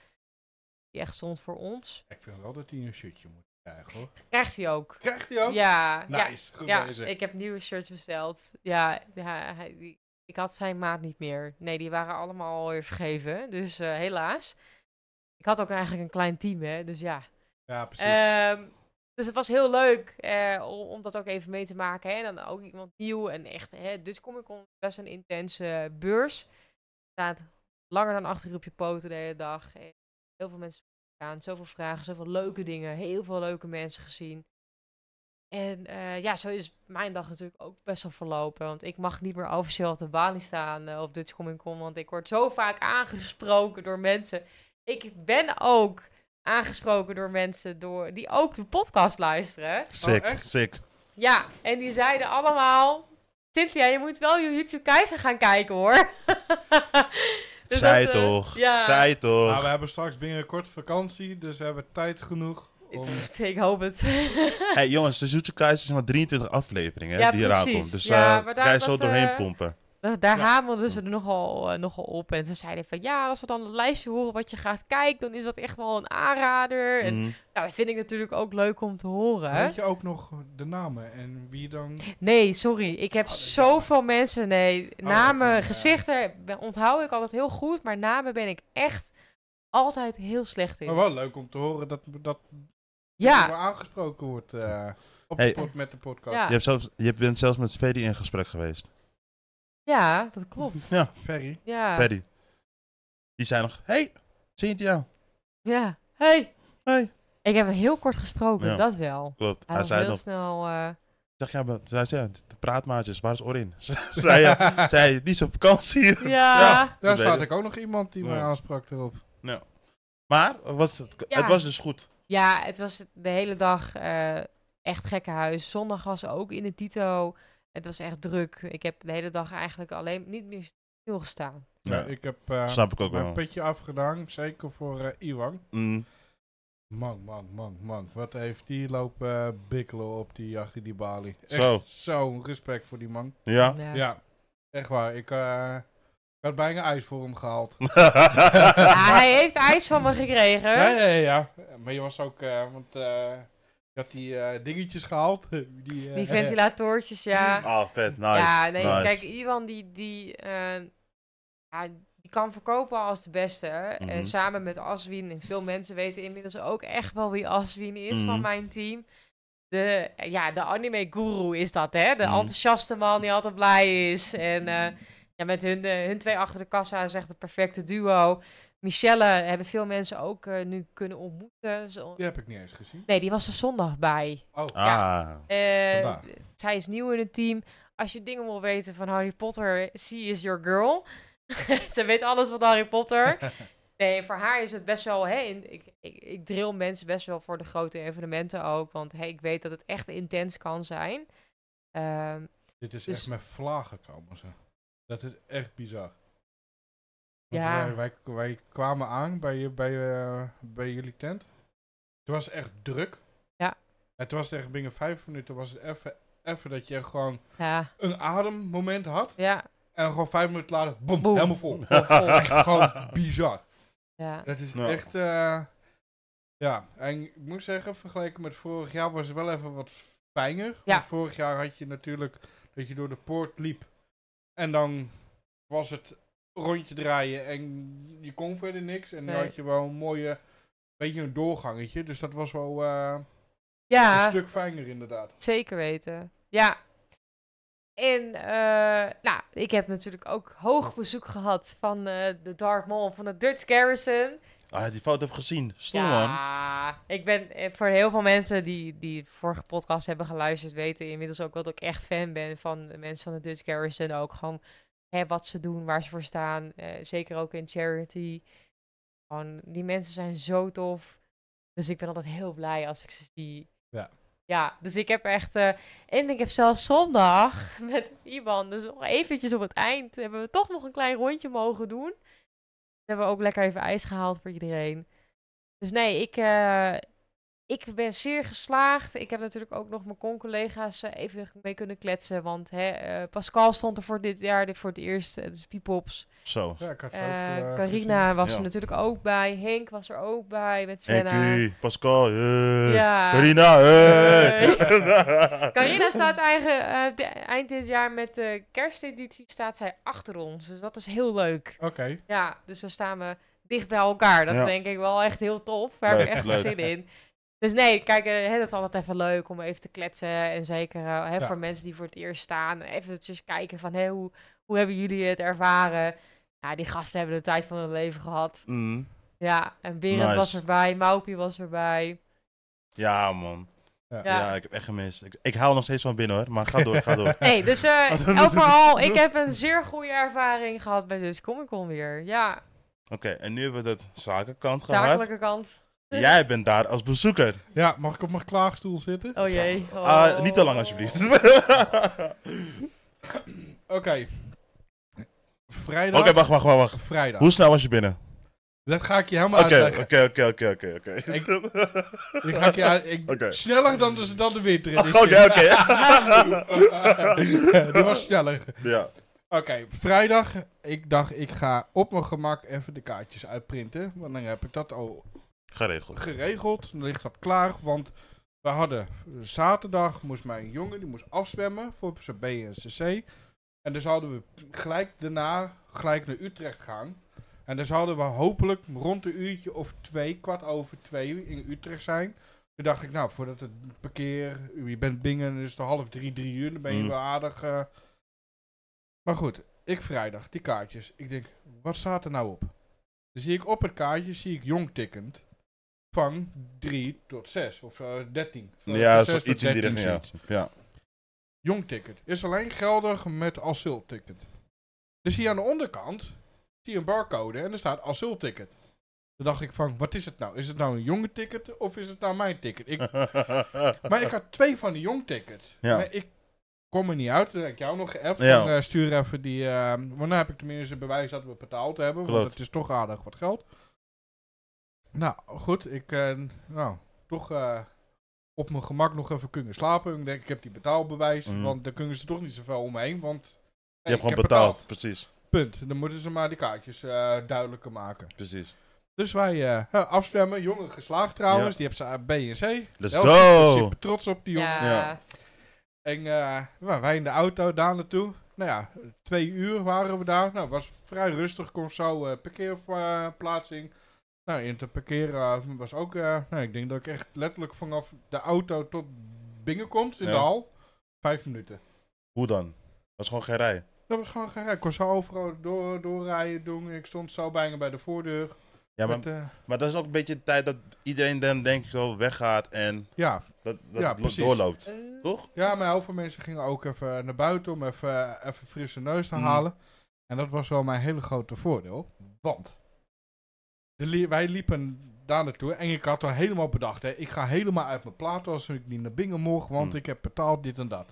[SPEAKER 1] Die echt stond voor ons.
[SPEAKER 2] Ik vind wel dat hij een shirtje moet krijgen hoor.
[SPEAKER 1] Krijgt hij ook. Nou,
[SPEAKER 2] Krijgt hij ook?
[SPEAKER 1] Ja, ja,
[SPEAKER 2] Nice, goed
[SPEAKER 1] ja,
[SPEAKER 2] bezig.
[SPEAKER 1] ik heb nieuwe shirts besteld. Ja, ja, hij- die- ik had zijn maat niet meer. Nee, die waren allemaal alweer vergeven. Dus eh, helaas. Ik had ook eigenlijk een klein team, hè. Dus ja.
[SPEAKER 2] Ja, precies.
[SPEAKER 1] Ehm, dus het was heel leuk eh, om, om dat ook even mee te maken. Hè. En dan ook iemand nieuw en echt... Hè, dus kom ik Con is best een intense beurs. Je staat langer dan acht uur op je poten de hele dag. En heel veel mensen aan, zoveel vragen, zoveel leuke dingen. Heel veel leuke mensen gezien. En eh, ja, zo is mijn dag natuurlijk ook best wel verlopen. Want ik mag niet meer officieel op de balie staan eh, op Dutch Comic Con. Want ik word zo vaak aangesproken door mensen. Ik ben ook aangesproken door mensen door, die ook de podcast luisteren.
[SPEAKER 3] Sick,
[SPEAKER 2] echt?
[SPEAKER 3] sick.
[SPEAKER 1] Ja, en die zeiden allemaal... Cynthia, je moet wel Jujutsu Kaisen gaan kijken, hoor. Dus
[SPEAKER 3] Zij
[SPEAKER 1] dat, eh,
[SPEAKER 3] toch?
[SPEAKER 1] ja.
[SPEAKER 3] Zij toch?
[SPEAKER 2] Maar we hebben straks binnenkort vakantie, dus we hebben tijd genoeg om...
[SPEAKER 1] Pff, Ik hoop het.
[SPEAKER 3] Hey jongens, de Jujutsu Kaisen is maar 23 afleveringen hè,
[SPEAKER 1] Ja,
[SPEAKER 3] die eraan
[SPEAKER 1] precies.
[SPEAKER 3] komt. Dus
[SPEAKER 1] Ja,
[SPEAKER 3] eh
[SPEAKER 1] maar daar-
[SPEAKER 3] ga je zo
[SPEAKER 1] dat,
[SPEAKER 3] doorheen
[SPEAKER 1] eh,
[SPEAKER 3] pompen.
[SPEAKER 1] Da- Daar
[SPEAKER 2] Ja.
[SPEAKER 1] hamelden ze er nogal, eh, nogal op. En ze zeiden van ja, als we dan het lijstje horen wat je gaat kijken, dan is dat echt wel een aanrader. En
[SPEAKER 3] Mhm.
[SPEAKER 1] nou, dat vind ik natuurlijk ook leuk om te horen.
[SPEAKER 2] Weet je ook nog de namen en wie dan...
[SPEAKER 1] Nee, sorry. Ik heb
[SPEAKER 2] Oh, dat is Oh,
[SPEAKER 1] zoveel mensen. Nee, namen,
[SPEAKER 2] dat vind ik, ja.
[SPEAKER 1] gezichten ben- onthoud ik altijd heel goed. Maar namen ben ik echt altijd heel slecht in.
[SPEAKER 2] Maar wel leuk om te horen dat, dat
[SPEAKER 1] ja,
[SPEAKER 2] we aangesproken wordt eh, op de
[SPEAKER 3] Hey.
[SPEAKER 2] pod- met de podcast.
[SPEAKER 1] Ja.
[SPEAKER 3] Je, hebt zelfs, je bent zelfs met Freddy in gesprek geweest.
[SPEAKER 1] ja, dat klopt.
[SPEAKER 3] Ja,
[SPEAKER 2] Ferry.
[SPEAKER 1] Ja,
[SPEAKER 3] Freddy. Die zei nog, hey, Cynthia.
[SPEAKER 1] ja. Hey.
[SPEAKER 3] Hey.
[SPEAKER 1] Ik heb hem heel kort gesproken,
[SPEAKER 3] Ja.
[SPEAKER 1] dat wel.
[SPEAKER 3] Klopt.
[SPEAKER 1] Hij
[SPEAKER 3] Hij
[SPEAKER 1] was heel
[SPEAKER 3] zei nog,
[SPEAKER 1] snel... eh,
[SPEAKER 3] zeg, ja, maar, zei, ze, ja, de praatmaatjes, waar is Orin? zei, ja, zei, die is op vakantie.
[SPEAKER 1] ja.
[SPEAKER 2] Daar
[SPEAKER 3] weet
[SPEAKER 2] staat
[SPEAKER 3] ik.
[SPEAKER 2] ik ook nog iemand die mij
[SPEAKER 3] Ja.
[SPEAKER 2] aansprak erop.
[SPEAKER 3] Maar het was, het,
[SPEAKER 1] Ja.
[SPEAKER 3] het was dus goed.
[SPEAKER 1] Ja, het was de hele dag eh echt gekkenhuis. Zondag was ook in de Tito. Het was echt druk. Ik heb de hele dag eigenlijk alleen niet meer stilgestaan.
[SPEAKER 3] Ja,
[SPEAKER 2] Ik heb eh,
[SPEAKER 3] Snap ik ook
[SPEAKER 2] mijn
[SPEAKER 3] wel.
[SPEAKER 2] petje afgedaan, zeker voor eh Iwan.
[SPEAKER 3] Mm.
[SPEAKER 2] Man, man, man, man. Wat heeft die lopen eh, bikkelen op die, achter die balie. Echt
[SPEAKER 3] Zo.
[SPEAKER 2] zo'n respect voor die man.
[SPEAKER 3] Ja.
[SPEAKER 1] Ja.
[SPEAKER 2] Ja, echt waar. Ik, eh, ik had bijna ijs voor hem gehaald.
[SPEAKER 1] Ja, hij heeft ijs van me gekregen.
[SPEAKER 2] Ja, ja, ja. ja. Maar je was ook, eh, want eh je had die eh, dingetjes gehaald. Die, eh,
[SPEAKER 1] Die ventilatortjes, ja.
[SPEAKER 3] Ah, vet, nice.
[SPEAKER 1] ja, nee,
[SPEAKER 3] nice.
[SPEAKER 1] kijk, Iwan die, die, eh, ja, die kan verkopen als de beste.
[SPEAKER 3] Mhm.
[SPEAKER 1] En samen met Aswin, en veel mensen weten inmiddels ook echt wel wie Aswin is
[SPEAKER 3] Mhm.
[SPEAKER 1] van mijn team. De, ja, de anime guru is dat, hè? De
[SPEAKER 3] Mhm.
[SPEAKER 1] enthousiaste man die altijd blij is. En eh, ja, met hun, eh, hun twee achter de kassa is echt een perfecte duo. Michelle hebben veel mensen ook eh, nu kunnen ontmoeten. Zo-
[SPEAKER 2] Die heb ik niet eens gezien.
[SPEAKER 1] Nee, die was er zondag bij.
[SPEAKER 2] Oh,
[SPEAKER 3] ah,
[SPEAKER 1] Eh,
[SPEAKER 2] Vandaag.
[SPEAKER 1] d- zij is nieuw in het team. Als je dingen wil weten van Harry Potter, she is your girl. Ze weet alles van Harry Potter. Nee, voor haar is het best wel. Hè, in- ik, ik, ik drill mensen best wel voor de grote evenementen ook. Want hey, ik weet dat het echt intens kan zijn. Ehm,
[SPEAKER 2] dit is
[SPEAKER 1] Dus-
[SPEAKER 2] echt met vlagen komen ze. Dat is echt bizar. Want
[SPEAKER 1] Ja.
[SPEAKER 2] Wij, wij, wij kwamen aan bij, je- bij, eh, bij jullie tent. Het was echt druk.
[SPEAKER 1] Ja.
[SPEAKER 2] Het was echt binnen vijf minuten was het even, even dat je echt gewoon
[SPEAKER 1] ja,
[SPEAKER 2] een ademmoment had.
[SPEAKER 1] ja,
[SPEAKER 2] En gewoon vijf minuten later, boem,
[SPEAKER 1] Boem.
[SPEAKER 2] helemaal vol.
[SPEAKER 1] vol.
[SPEAKER 2] Echt gewoon bizar.
[SPEAKER 1] ja.
[SPEAKER 2] Dat is
[SPEAKER 3] Ja.
[SPEAKER 2] echt. eh, ja, en ik moet zeggen, vergeleken met vorig jaar was het wel even wat fijner.
[SPEAKER 1] Ja.
[SPEAKER 2] Want vorig jaar had je natuurlijk dat je door de poort liep. En dan was het rondje draaien en je kon verder niks. En
[SPEAKER 1] Nee.
[SPEAKER 2] dan had je wel een mooie, beetje een doorgangetje. Dus dat was wel eh, een
[SPEAKER 1] ja.
[SPEAKER 2] stuk fijner inderdaad.
[SPEAKER 1] Zeker weten. Ja. En eh, nou, ik heb natuurlijk ook hoog bezoek gehad van eh, de Dark Mall van de Dutch Garrison.
[SPEAKER 3] Ah, die foto heb ik gezien. Stom, man.
[SPEAKER 1] Ja, ik ben eh, voor heel veel mensen die, die de vorige podcast hebben geluisterd, weten inmiddels ook wel dat ik echt fan ben van de mensen van de Dutch Garrison. Ook gewoon hè, wat ze doen, waar ze voor staan. eh, zeker ook in charity. Gewoon, die mensen zijn zo tof. Dus ik ben altijd heel blij als ik ze zie.
[SPEAKER 2] Ja.
[SPEAKER 1] Ja, dus ik heb echt... eh, en ik heb zelfs zondag met Iban, dus nog eventjes op het eind, hebben we toch nog een klein rondje mogen doen. We hebben ook lekker even ijs gehaald voor iedereen. Dus nee, ik, eh, ik ben zeer geslaagd. Ik heb natuurlijk ook nog mijn con-collega's eh, even mee kunnen kletsen. Want hè, eh, Pascal stond er voor dit jaar dit voor het eerst. eh, Dus Piepops.
[SPEAKER 3] Zo.
[SPEAKER 2] Ja, ik had ze ook,
[SPEAKER 1] Eh,
[SPEAKER 2] eh, gezien.
[SPEAKER 1] Carina was
[SPEAKER 3] Ja.
[SPEAKER 1] er natuurlijk ook bij. Henk was er ook bij met
[SPEAKER 3] En
[SPEAKER 1] Senna.
[SPEAKER 3] Pascal, hey.
[SPEAKER 1] Ja.
[SPEAKER 3] eh, Carina, hey.
[SPEAKER 1] Carina staat eigen, eh, de- eind dit jaar met de kersteditie staat zij achter ons. Dus dat is heel leuk.
[SPEAKER 2] Oké.
[SPEAKER 1] Ja, dus dan staan we dicht bij elkaar. Dat
[SPEAKER 3] Ja.
[SPEAKER 1] denk ik wel echt heel tof. Daar heb ik
[SPEAKER 3] Leuk,
[SPEAKER 1] echt
[SPEAKER 3] leuk.
[SPEAKER 1] zin in. Dus nee, kijk, eh, hè, dat is altijd even leuk om even te kletsen. En zeker eh, hè,
[SPEAKER 2] Ja.
[SPEAKER 1] voor mensen die voor het eerst staan. Eventjes kijken van, hé, hoe, hoe hebben jullie het ervaren? Ja, die gasten hebben de tijd van hun leven gehad.
[SPEAKER 3] Mm.
[SPEAKER 1] Ja, en Berend
[SPEAKER 3] Nice.
[SPEAKER 1] was erbij. Maupie was erbij.
[SPEAKER 3] Ja, man.
[SPEAKER 2] Ja.
[SPEAKER 3] Ja. ik heb echt gemist. Ik, ik hou nog steeds van binnen hoor, maar ga door, ga door.
[SPEAKER 1] Nee, dus eh overal, ik heb een zeer goede ervaring gehad bij dus Comic Con weer. Ja,
[SPEAKER 3] Oké, en nu hebben we dat zakenkant gehad.
[SPEAKER 1] zakelijke kant.
[SPEAKER 3] Jij bent daar als bezoeker.
[SPEAKER 2] Ja, mag ik op mijn klaagstoel zitten?
[SPEAKER 1] Oh jee.
[SPEAKER 3] Ah,
[SPEAKER 1] Oh.
[SPEAKER 3] niet te lang alsjeblieft.
[SPEAKER 2] Oké. Vrijdag.
[SPEAKER 3] Oké, wacht, wacht, wacht, wacht.
[SPEAKER 2] Vrijdag.
[SPEAKER 3] Hoe snel was je binnen?
[SPEAKER 2] Dat ga ik je helemaal
[SPEAKER 3] Oké,
[SPEAKER 2] uitleggen.
[SPEAKER 3] oké, oké, oké, oké, oké.
[SPEAKER 2] Ik- Ik ga ik je uit- ik-
[SPEAKER 3] Oké.
[SPEAKER 2] Sneller dan de, dan de winter. in is
[SPEAKER 3] Oké,
[SPEAKER 2] dit.
[SPEAKER 3] oké.
[SPEAKER 2] Die was sneller.
[SPEAKER 3] Ja.
[SPEAKER 2] Oké, vrijdag. Ik dacht, ik ga op mijn gemak even de kaartjes uitprinten. Want dan heb ik dat al
[SPEAKER 3] Geregeld.
[SPEAKER 2] geregeld. Dan ligt dat klaar. Want we hadden zaterdag moest mijn jongen, die moest afzwemmen voor zijn B en CC. En dus hadden we gelijk daarna gelijk naar Utrecht gaan. En dan zouden we hopelijk rond een uurtje of twee, kwart over twee in Utrecht zijn. Toen dacht ik, nou, voordat het parkeer, je bent bingen, dan is het half drie, drie uur, dan ben je
[SPEAKER 3] Mm.
[SPEAKER 2] wel aardig. eh. Maar goed, ik vrijdag, die kaartjes. Ik denk, wat staat er nou op? Dan zie ik op het kaartje, zie ik jong tikkend. Van 3 tot 6 of eh, 13. Van
[SPEAKER 3] Ja,
[SPEAKER 2] 6
[SPEAKER 3] zo
[SPEAKER 2] tot
[SPEAKER 3] iets in die
[SPEAKER 2] 13
[SPEAKER 3] richting, ja.
[SPEAKER 2] zoiets.
[SPEAKER 3] Ja.
[SPEAKER 2] Jong ticket is alleen geldig met asylticket. ticket. Dus hier aan de onderkant zie je een barcode en er staat asylticket. ticket. Toen dacht ik van, wat is het nou? Is het nou een jonge ticket of is het nou mijn ticket? Ik, maar ik had twee van die jong tickets.
[SPEAKER 3] Ja.
[SPEAKER 2] Maar ik kom er niet uit. Toen heb ik jou nog geappt.
[SPEAKER 3] Ja.
[SPEAKER 2] Van, eh, stuur even die... eh, want dan heb ik tenminste bewijs dat we betaald hebben. Want
[SPEAKER 3] Klopt.
[SPEAKER 2] het is toch aardig wat geld. Nou, goed. Ik... eh, nou, toch... eh, op mijn gemak nog even kunnen slapen. Ik denk, ik heb die betaalbewijs.
[SPEAKER 3] Mhm.
[SPEAKER 2] Want daar kunnen ze toch niet zoveel omheen. Want
[SPEAKER 3] Je
[SPEAKER 2] hey,
[SPEAKER 3] hebt
[SPEAKER 2] ik
[SPEAKER 3] gewoon
[SPEAKER 2] heb
[SPEAKER 3] betaald. Precies,
[SPEAKER 2] Punt. Dan moeten ze maar die kaartjes eh, duidelijker maken.
[SPEAKER 3] precies.
[SPEAKER 2] Dus wij eh afstemmen. Jongen geslaagd trouwens. Die heeft zijn B en C.
[SPEAKER 3] Let's
[SPEAKER 2] Heel goed.
[SPEAKER 3] go!
[SPEAKER 2] Super trots op die jongen.
[SPEAKER 1] Ja.
[SPEAKER 3] Ja.
[SPEAKER 2] En eh, nou, wij in de auto daar naartoe. Nou ja, twee uur waren we daar. Nou, was vrij rustig. Kon zo eh, parkeerplaatsing. Nou, in te parkeren eh, was ook... eh, nou, ik denk dat ik echt letterlijk vanaf de auto tot Bingen komt in
[SPEAKER 3] Ja.
[SPEAKER 2] de hal. Vijf minuten. Nou,
[SPEAKER 3] Hoe dan? Dat is gewoon geen rij.
[SPEAKER 2] Dat was gewoon gek. Ik kon zo overal door, doorrijden doen. Ik stond zo bijna bij de voordeur.
[SPEAKER 3] Ja, maar,
[SPEAKER 2] Met, eh,
[SPEAKER 3] maar dat is ook een beetje de tijd dat iedereen dan denk ik zo weggaat en
[SPEAKER 2] ja.
[SPEAKER 3] dat, dat
[SPEAKER 2] Ja,
[SPEAKER 3] het
[SPEAKER 2] precies.
[SPEAKER 3] doorloopt.
[SPEAKER 1] Eh,
[SPEAKER 3] Toch?
[SPEAKER 2] ja, maar heel veel mensen gingen ook even naar buiten om even, even frisse neus te
[SPEAKER 3] Mm.
[SPEAKER 2] halen. En dat was wel mijn hele grote voordeel. Want de li- wij liepen daar naartoe en ik had al helemaal bedacht. Hè, ik ga helemaal uit mijn plaat als ik niet naar Bingen mocht, want
[SPEAKER 3] Mm.
[SPEAKER 2] ik heb betaald dit en dat.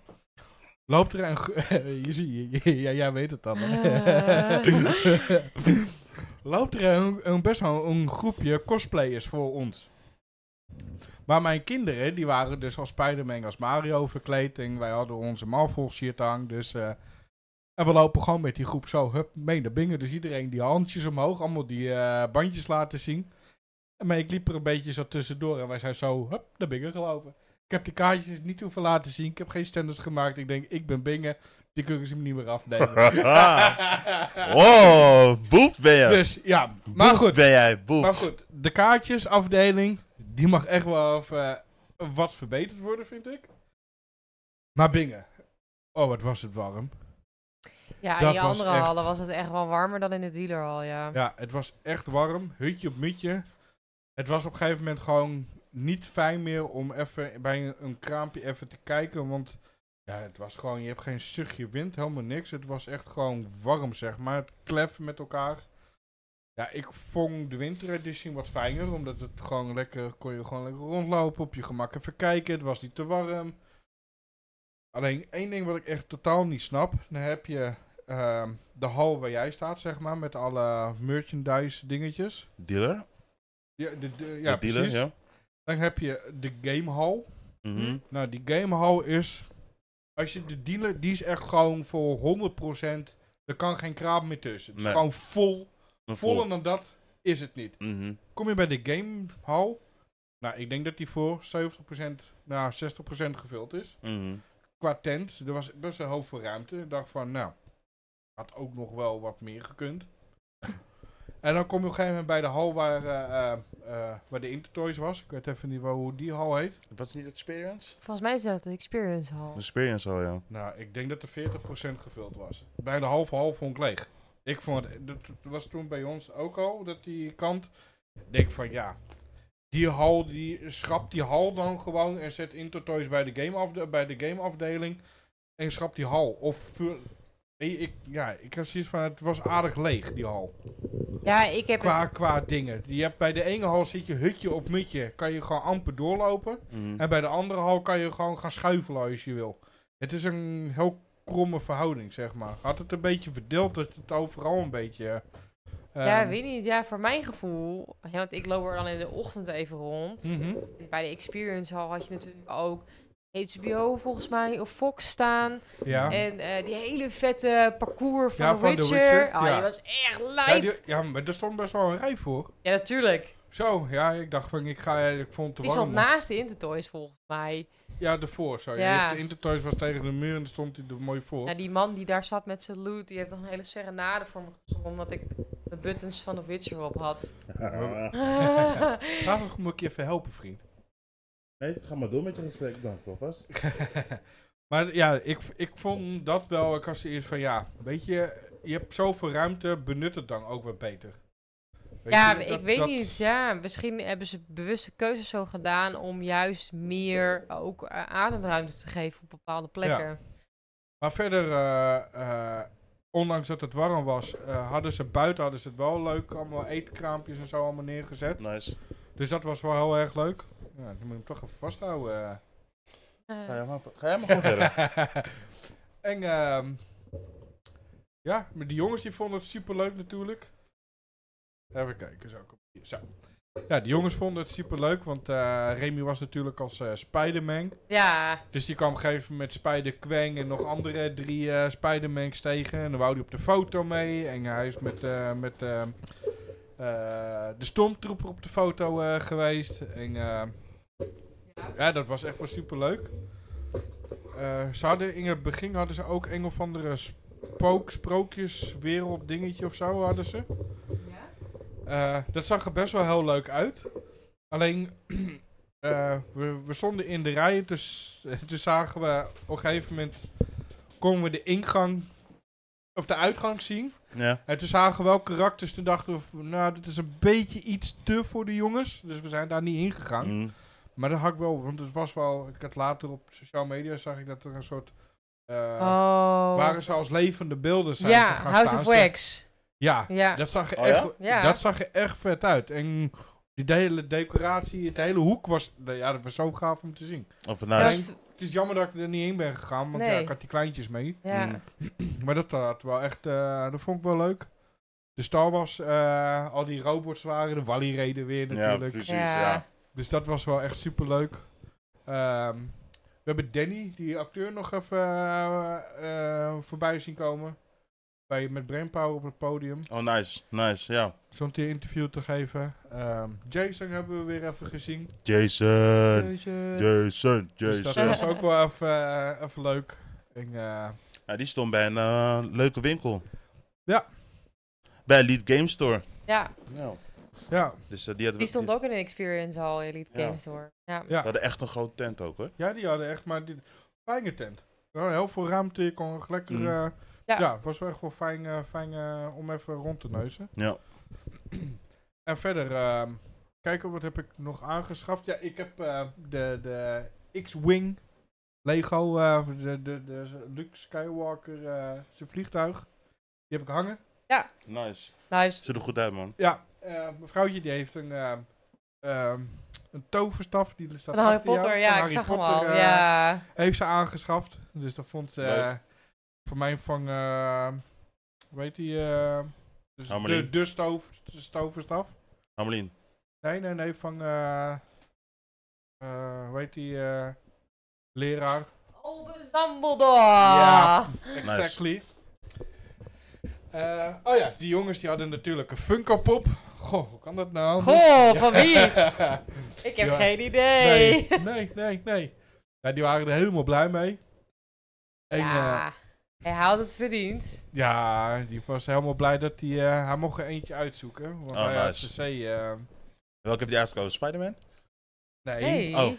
[SPEAKER 2] Loopt er een... gro- je ziet, ja, jij weet het dan. hè. Loopt er een, een- best wel een groepje cosplayers voor ons. Maar mijn kinderen, die waren dus als Spider-Man als Mario verkleed. En wij hadden onze Marvel shirt aan, dus... eh, en we lopen gewoon met die groep zo, hup, mee naar bingen. Dus iedereen die handjes omhoog, allemaal die eh, bandjes laten zien. Maar ik liep er een beetje zo tussendoor en wij zijn zo, hup, naar bingen gelopen. Ik heb de kaartjes niet hoeven laten zien. Ik heb geen standards gemaakt. Ik denk, ik ben bingen. Die kunnen ze me niet meer afnemen.
[SPEAKER 3] oh, boef ben je.
[SPEAKER 2] Dus ja, maar
[SPEAKER 3] Boef
[SPEAKER 2] goed.
[SPEAKER 3] Ben jij, boef.
[SPEAKER 2] Maar goed, de kaartjesafdeling, die mag echt wel even, eh, wat verbeterd worden, vind ik. Maar bingen. Oh, wat was het warm.
[SPEAKER 1] Ja, in
[SPEAKER 2] Dat
[SPEAKER 1] die
[SPEAKER 2] was
[SPEAKER 1] andere
[SPEAKER 2] echt-
[SPEAKER 1] hallen was het echt wel warmer dan in de dealerhal, ja.
[SPEAKER 2] Ja, het was echt warm. Hutje op mutje. Het was op een gegeven moment gewoon niet fijn meer om even bij een, een kraampje even te kijken. Want Ja, het was gewoon, je hebt geen zuchtje wind, helemaal niks. Het was echt gewoon warm, zeg maar. Het klef met elkaar. Ja, ik vond de winteredition wat fijner, omdat het gewoon lekker, kon je gewoon lekker rondlopen, op je gemak even kijken. Het was niet te warm. Alleen één ding wat ik echt totaal niet snap, dan heb je ehm, de hal waar jij staat, zeg maar, met alle merchandise dingetjes.
[SPEAKER 3] Dealer?
[SPEAKER 2] Ja, de, de- ja
[SPEAKER 3] De dealer,
[SPEAKER 2] precies.
[SPEAKER 3] ja.
[SPEAKER 2] Dan heb je de gamehal.
[SPEAKER 3] Mhm.
[SPEAKER 1] Hm?
[SPEAKER 2] Nou, die gamehal is. Als je de dealer, die is echt gewoon voor 100%. Er kan geen kraap meer tussen. Het is
[SPEAKER 3] Nee.
[SPEAKER 2] gewoon vol.
[SPEAKER 3] Een vol.
[SPEAKER 2] Voller dan dat is het niet.
[SPEAKER 3] Mhm.
[SPEAKER 2] Kom je bij de gamehal. Nou, ik denk dat die voor 70% naar 60% gevuld is.
[SPEAKER 3] Mhm.
[SPEAKER 2] Qua tent, er was best een hoop voor ruimte. Ik dacht van, nou, had ook nog wel wat meer gekund. En dan kom je op een gegeven moment bij de hal waar, eh, eh, eh, waar de Intertoys was. Ik weet even niet wel hoe die hal heet.
[SPEAKER 3] Wat is niet experience?
[SPEAKER 1] Volgens mij is dat de experience hall.
[SPEAKER 3] Experience al, ja.
[SPEAKER 2] Nou, ik denk dat er 40% gevuld was. Bij de halve half vond ik leeg. Ik vond het, dat was toen bij ons ook al, dat die kant. Ik denk van ja, die hal, die, schrap die hal dan gewoon en zet Intertoys bij de, game bij de gameafdeling. En schrap die hal. Of vul- Weet je, ik, ja, ik had zoiets van, het was aardig leeg, die hal.
[SPEAKER 1] Ja, ik heb
[SPEAKER 2] Qua,
[SPEAKER 1] het...
[SPEAKER 2] qua dingen. Je hebt, bij de ene hal zit je hutje op mutje. Kan je gewoon amper doorlopen.
[SPEAKER 3] Mhm.
[SPEAKER 2] En bij de andere hal kan je gewoon gaan schuifelen als je wil. Het is een heel kromme verhouding, zeg maar. Had het een beetje verdeeld, dat het overal een beetje... eh,
[SPEAKER 1] Ja,
[SPEAKER 2] ehm,
[SPEAKER 1] weet niet. Ja, voor mijn gevoel... Ja, want ik loop er dan in de ochtend even rond.
[SPEAKER 2] mhm.
[SPEAKER 1] Bij de experience hall had je natuurlijk ook... HBO volgens mij, of Fox staan.
[SPEAKER 2] Ja.
[SPEAKER 1] En eh, die hele vette parcours van,
[SPEAKER 2] Ja,
[SPEAKER 1] The
[SPEAKER 2] van The
[SPEAKER 1] Witcher.
[SPEAKER 2] Witcher,
[SPEAKER 1] Ah,
[SPEAKER 2] ja.
[SPEAKER 1] die was echt
[SPEAKER 2] Ja,
[SPEAKER 1] lijp. Ja,
[SPEAKER 2] die- ja, maar er stond best wel een rij voor.
[SPEAKER 1] natuurlijk.
[SPEAKER 2] Zo, ja, ik dacht van, ik ga, ik vond het te
[SPEAKER 1] Die stond
[SPEAKER 2] warm.
[SPEAKER 1] naast de Intertoys volgens mij.
[SPEAKER 2] Ja, ervoor, sorry.
[SPEAKER 1] Ja.
[SPEAKER 2] Dus de Intertoys was tegen de muur en daar stond hij er mooi voor.
[SPEAKER 1] Ja, Nou, die man die daar zat met zijn loot, die heeft nog een hele serenade voor me gezongen, omdat ik de buttons van de Witcher op had.
[SPEAKER 2] Laat me een keer even helpen, vriend.
[SPEAKER 3] Nee, ga maar door met je gesprek dan, alvast.
[SPEAKER 2] maar ja, ik, ik vond dat wel, ik had eerst van, ja, weet je, je hebt zoveel ruimte, benut het dan ook wat beter. Weet
[SPEAKER 1] ja,
[SPEAKER 2] je,
[SPEAKER 1] maar
[SPEAKER 2] dat-
[SPEAKER 1] ik weet
[SPEAKER 2] dat-
[SPEAKER 1] niet. Ja, misschien hebben ze bewuste keuzes zo gedaan om juist meer ook eh, ademruimte te geven op bepaalde plekken.
[SPEAKER 2] Maar verder, eh, eh, ondanks dat het warm was, eh, hadden ze buiten hadden ze het wel leuk. Allemaal eetkraampjes en zo allemaal neergezet.
[SPEAKER 3] Nice.
[SPEAKER 2] Dus dat was wel heel erg leuk. Ja, dan moet je hem toch even vasthouden. eh.
[SPEAKER 1] Eh,
[SPEAKER 3] Ga jij maar, ga jij maar gewoon verder.
[SPEAKER 2] en ehm, ja, maar die jongens die vonden het superleuk natuurlijk. Even kijken, zo. kom hier, zo. Ja, die jongens vonden het superleuk, want eh, Remy was natuurlijk als eh Spider-Man.
[SPEAKER 1] ja,
[SPEAKER 2] Dus die kwam op een gegeven moment Spider-Kwang en nog andere drie eh Spider-Mans tegen. En dan wou hij op de foto mee. En hij is met, eh, met eh, eh, de Stormtrooper op de foto eh, geweest. En eh, ja, dat was echt wel superleuk. Eh ze hadden in het begin hadden ze ook een of andere spook, sprookjes, wereld dingetje of zo hadden ze. Eh, dat zag er best wel heel leuk uit. Alleen, eh, we, we stonden in de rij, dus eh, toen zagen we op een gegeven moment konden we de ingang of de uitgang zien.
[SPEAKER 3] Ja.
[SPEAKER 2] En toen zagen we wel karakters, toen dachten we, van, nou, dit is een beetje iets te voor de jongens. Dus we zijn daar niet ingegaan.
[SPEAKER 3] Mhm.
[SPEAKER 2] Maar dat had ik wel, want het was wel, ik had later op sociale media zag ik dat er een soort, eh,
[SPEAKER 1] oh,
[SPEAKER 2] waren ze als levende beelden zijn
[SPEAKER 1] ja,
[SPEAKER 2] ze gaan
[SPEAKER 1] House
[SPEAKER 2] staan.
[SPEAKER 1] of
[SPEAKER 2] Ze-
[SPEAKER 1] Wax.
[SPEAKER 2] Ja,
[SPEAKER 1] Ja,
[SPEAKER 2] dat zag, er
[SPEAKER 3] Oh
[SPEAKER 2] echt,
[SPEAKER 3] ja?
[SPEAKER 1] Ja.
[SPEAKER 2] dat zag er echt vet uit. En die hele decoratie, het hele hoek was... nou Ja, dat was zo gaaf om te zien.
[SPEAKER 3] Of
[SPEAKER 1] Ja,
[SPEAKER 3] nice.
[SPEAKER 1] dat-
[SPEAKER 2] Het is jammer dat ik er niet heen ben gegaan, want ja,
[SPEAKER 1] Nee.
[SPEAKER 2] ik had die kleintjes mee.
[SPEAKER 1] ja.
[SPEAKER 3] Mm.
[SPEAKER 2] Maar dat had wel echt... eh, dat vond ik wel leuk. De Star Wars, eh, al die robots waren. De Wally reden weer
[SPEAKER 3] Ja,
[SPEAKER 2] natuurlijk.
[SPEAKER 3] precies,
[SPEAKER 1] Ja.
[SPEAKER 3] ja.
[SPEAKER 2] dus dat was wel echt superleuk. Ehm, we hebben Danny, die acteur, nog even eh, eh, voorbij zien komen. Bij, met Brainpower op het podium.
[SPEAKER 3] Oh, nice. Nice, ja.
[SPEAKER 2] Zo'n keer interview te geven. Ehm, Jason hebben we weer even gezien.
[SPEAKER 1] Mm.
[SPEAKER 3] Jason.
[SPEAKER 1] Keuze.
[SPEAKER 3] Jason,
[SPEAKER 2] Dus dat
[SPEAKER 3] Jason.
[SPEAKER 2] was ook wel even, eh, even leuk. En, eh,
[SPEAKER 3] Ja, die stond bij een eh, leuke winkel.
[SPEAKER 2] Ja.
[SPEAKER 3] Bij Elite Game Store.
[SPEAKER 1] Ja,
[SPEAKER 3] Nou,
[SPEAKER 2] ja.
[SPEAKER 3] dus eh, die, had,
[SPEAKER 1] die stond ook in een experience hall, Elite
[SPEAKER 3] Ja.
[SPEAKER 1] Game Store. Ja.
[SPEAKER 2] Ja.
[SPEAKER 3] die hadden echt een grote tent ook, hoor.
[SPEAKER 2] ja, die hadden echt maar die, fijne tent. Wel heel veel ruimte, je kon echt lekker...
[SPEAKER 3] Mhm.
[SPEAKER 2] eh, ja.
[SPEAKER 1] Mm. Ja.
[SPEAKER 2] het was wel echt wel fijn, eh, fijn eh, om even rond te neuzen.
[SPEAKER 3] Ja.
[SPEAKER 2] En verder, ehm, kijken wat heb ik nog aangeschaft. Ja, ik heb eh, de, de X-Wing Lego, eh, de, de, de Luke Skywalker, eh, zijn vliegtuig. Die heb ik hangen.
[SPEAKER 3] Nice.
[SPEAKER 1] Nice.
[SPEAKER 3] Ziet er goed uit, man.
[SPEAKER 2] Ja, eh mevrouwtje die heeft een, ehm, ehm, een toverstaf. Die staat
[SPEAKER 1] Van Harry
[SPEAKER 2] achter jou.
[SPEAKER 1] Potter,
[SPEAKER 2] Van
[SPEAKER 1] ja, ik
[SPEAKER 2] Harry
[SPEAKER 1] zag hem
[SPEAKER 2] Potter,
[SPEAKER 1] al.
[SPEAKER 2] eh,
[SPEAKER 1] ja.
[SPEAKER 2] Heeft ze aangeschaft. Dus dat vond ze eh,
[SPEAKER 3] Leuk.
[SPEAKER 2] voor mij van, eh, hoe heet die? eh, dus
[SPEAKER 3] Hamelin.
[SPEAKER 2] de, de, stoof, de stoverstaf.
[SPEAKER 3] Amelien.
[SPEAKER 2] Nee, nee, nee, van, eh eh, hoe heet die? eh, leraar.
[SPEAKER 1] Albus Dumbledore.
[SPEAKER 2] Ja.
[SPEAKER 3] Nice.
[SPEAKER 2] Exactly. Eh, oh ja, die jongens die hadden natuurlijk een Funko Pop. Goh, hoe kan dat nou?
[SPEAKER 1] Goh, van wie? Ik heb
[SPEAKER 2] Ja.
[SPEAKER 1] geen idee.
[SPEAKER 2] nee, nee, nee, nee. Ja, die waren er helemaal blij mee. En, eh, ja.
[SPEAKER 1] ja.
[SPEAKER 3] eh,
[SPEAKER 1] Hij houdt het verdiend.
[SPEAKER 2] ja, die was helemaal blij dat hij... eh, hij mocht er eentje uitzoeken. Want
[SPEAKER 3] Oh,
[SPEAKER 2] hij had
[SPEAKER 3] nice.
[SPEAKER 2] CC... eh,
[SPEAKER 3] Welke heb je uitgekozen? Spider-Man?
[SPEAKER 2] nee,
[SPEAKER 1] Hey.
[SPEAKER 3] Oh.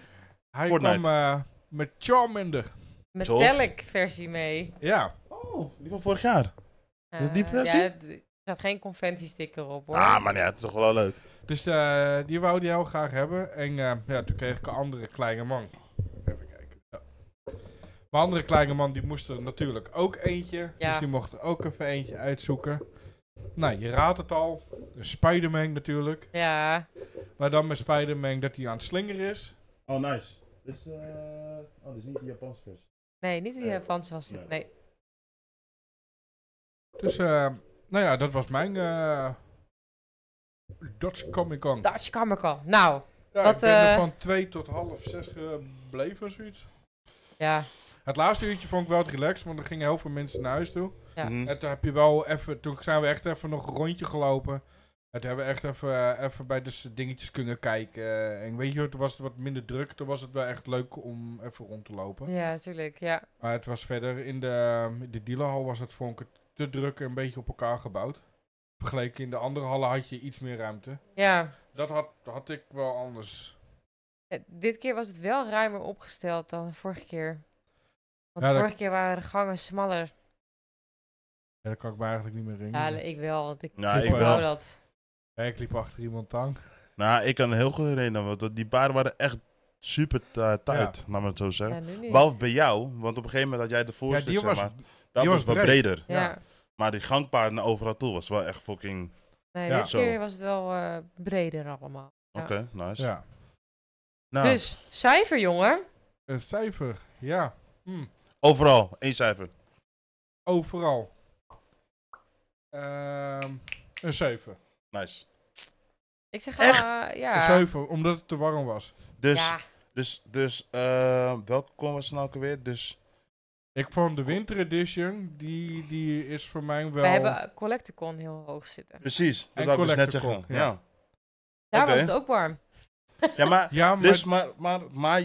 [SPEAKER 2] hij
[SPEAKER 3] Fortnite.
[SPEAKER 2] kwam eh, met Charmander.
[SPEAKER 1] Metallic versie mee.
[SPEAKER 2] Ja.
[SPEAKER 3] Oh, die van vorig jaar. Is het die
[SPEAKER 1] Eh,
[SPEAKER 3] versie?
[SPEAKER 1] Ja, het- er staat geen conventiesticker op hoor.
[SPEAKER 3] Ah, maar ja, het is toch wel leuk.
[SPEAKER 2] Dus eh, die wou die heel graag hebben. En eh, ja, toen kreeg ik een andere kleine man. Even kijken. Ja. Mijn andere kleine man die moest er natuurlijk ook eentje.
[SPEAKER 1] Ja.
[SPEAKER 2] Dus die mocht er ook even eentje uitzoeken. Nou, je raadt het al. Spider-Man natuurlijk.
[SPEAKER 1] Ja.
[SPEAKER 2] Maar dan met Spider-Man dat hij aan het slingeren is.
[SPEAKER 3] Oh, nice. Dit is, oh, dit is niet de Japanse versie.
[SPEAKER 1] Nee, niet die
[SPEAKER 3] Nee.
[SPEAKER 1] Japanse was het.
[SPEAKER 3] Nee.
[SPEAKER 1] Nee.
[SPEAKER 2] Dus eh, nou ja, dat was mijn eh Dutch Comic Con.
[SPEAKER 1] Dutch Comic Con. Nou,
[SPEAKER 2] Ja,
[SPEAKER 1] wat,
[SPEAKER 2] ik ben er
[SPEAKER 1] eh,
[SPEAKER 2] van twee tot half zes gebleven of zoiets.
[SPEAKER 1] ja.
[SPEAKER 2] Het laatste uurtje vond ik wel het relaxed, want er gingen heel veel mensen naar huis toe.
[SPEAKER 1] Ja.
[SPEAKER 3] Mhm. Mm.
[SPEAKER 2] En toen heb je wel even, toen zijn we echt even nog een rondje gelopen. En toen hebben we echt even, eh, even bij de s- dingetjes kunnen kijken. eh, En weet je, toen was het wat minder druk. Toen was het wel echt leuk om even rond te lopen.
[SPEAKER 1] Ja, natuurlijk. Ja.
[SPEAKER 2] Maar het was verder in de, in de dealerhal was het vond ik het te druk en een beetje op elkaar gebouwd. Vergeleken in de andere hallen had je iets meer ruimte.
[SPEAKER 1] Ja.
[SPEAKER 2] Dat had, had ik wel anders.
[SPEAKER 1] Eh, Dit keer was het wel ruimer opgesteld dan de vorige keer. Want
[SPEAKER 2] Ja,
[SPEAKER 1] de
[SPEAKER 2] dat-
[SPEAKER 1] vorige keer waren de gangen smaller.
[SPEAKER 2] Ja, dat kan ik me eigenlijk niet
[SPEAKER 3] Mm.
[SPEAKER 2] meer
[SPEAKER 1] Ja,
[SPEAKER 2] herinneren.
[SPEAKER 1] ik wel, want ik
[SPEAKER 3] Nou,
[SPEAKER 2] ik
[SPEAKER 1] onthoud
[SPEAKER 2] wel.
[SPEAKER 1] dat.
[SPEAKER 2] Ja, ik liep achter iemand aan.
[SPEAKER 3] Nou, ik kan heel goed herinneren, want die paarden waren echt super eh, tight, laat maar het zo zeggen.
[SPEAKER 1] Ja, nu niet.
[SPEAKER 3] Behalve bij jou, want op een gegeven moment had jij de
[SPEAKER 2] Ja,
[SPEAKER 3] voorste,
[SPEAKER 2] die
[SPEAKER 3] zeg
[SPEAKER 2] was...
[SPEAKER 3] maar. Dat
[SPEAKER 2] die
[SPEAKER 3] was
[SPEAKER 2] was
[SPEAKER 3] wat
[SPEAKER 2] breed.
[SPEAKER 3] breder.
[SPEAKER 1] Ja.
[SPEAKER 2] ja.
[SPEAKER 3] Maar die gangpaarden naar overal toe was wel echt fucking...
[SPEAKER 1] Nee,
[SPEAKER 2] Ja.
[SPEAKER 1] dit
[SPEAKER 3] Zo.
[SPEAKER 1] keer was het wel eh, breder allemaal. Ja.
[SPEAKER 3] Oké, nice.
[SPEAKER 2] Ja.
[SPEAKER 3] Nou,
[SPEAKER 1] Dus, cijfer, jongen.
[SPEAKER 2] Een cijfer, ja. Hm.
[SPEAKER 3] overal, één cijfer.
[SPEAKER 2] Overal. Ehm, een 7.
[SPEAKER 3] Nice.
[SPEAKER 1] Ik zeg
[SPEAKER 3] Echt?
[SPEAKER 1] ah,
[SPEAKER 2] Een
[SPEAKER 1] ja.
[SPEAKER 2] 7, omdat het te warm was.
[SPEAKER 3] Dus,
[SPEAKER 1] Ja.
[SPEAKER 3] dus, dus, eh, welke kon was het nou ook alweer? Dus,
[SPEAKER 2] Ik vond de Winter Edition, die, die is voor mij wel.
[SPEAKER 1] We hebben eh, Collecticon heel hoog zitten.
[SPEAKER 3] precies, dat
[SPEAKER 2] En
[SPEAKER 3] wou ik dus net
[SPEAKER 2] Collector
[SPEAKER 3] zeggen.
[SPEAKER 2] Con,
[SPEAKER 3] Ja.
[SPEAKER 1] Daar
[SPEAKER 3] Oké.
[SPEAKER 1] was het ook warm.
[SPEAKER 3] Ja. maar,
[SPEAKER 2] Ja, maar
[SPEAKER 3] dus, maar, maar, maar,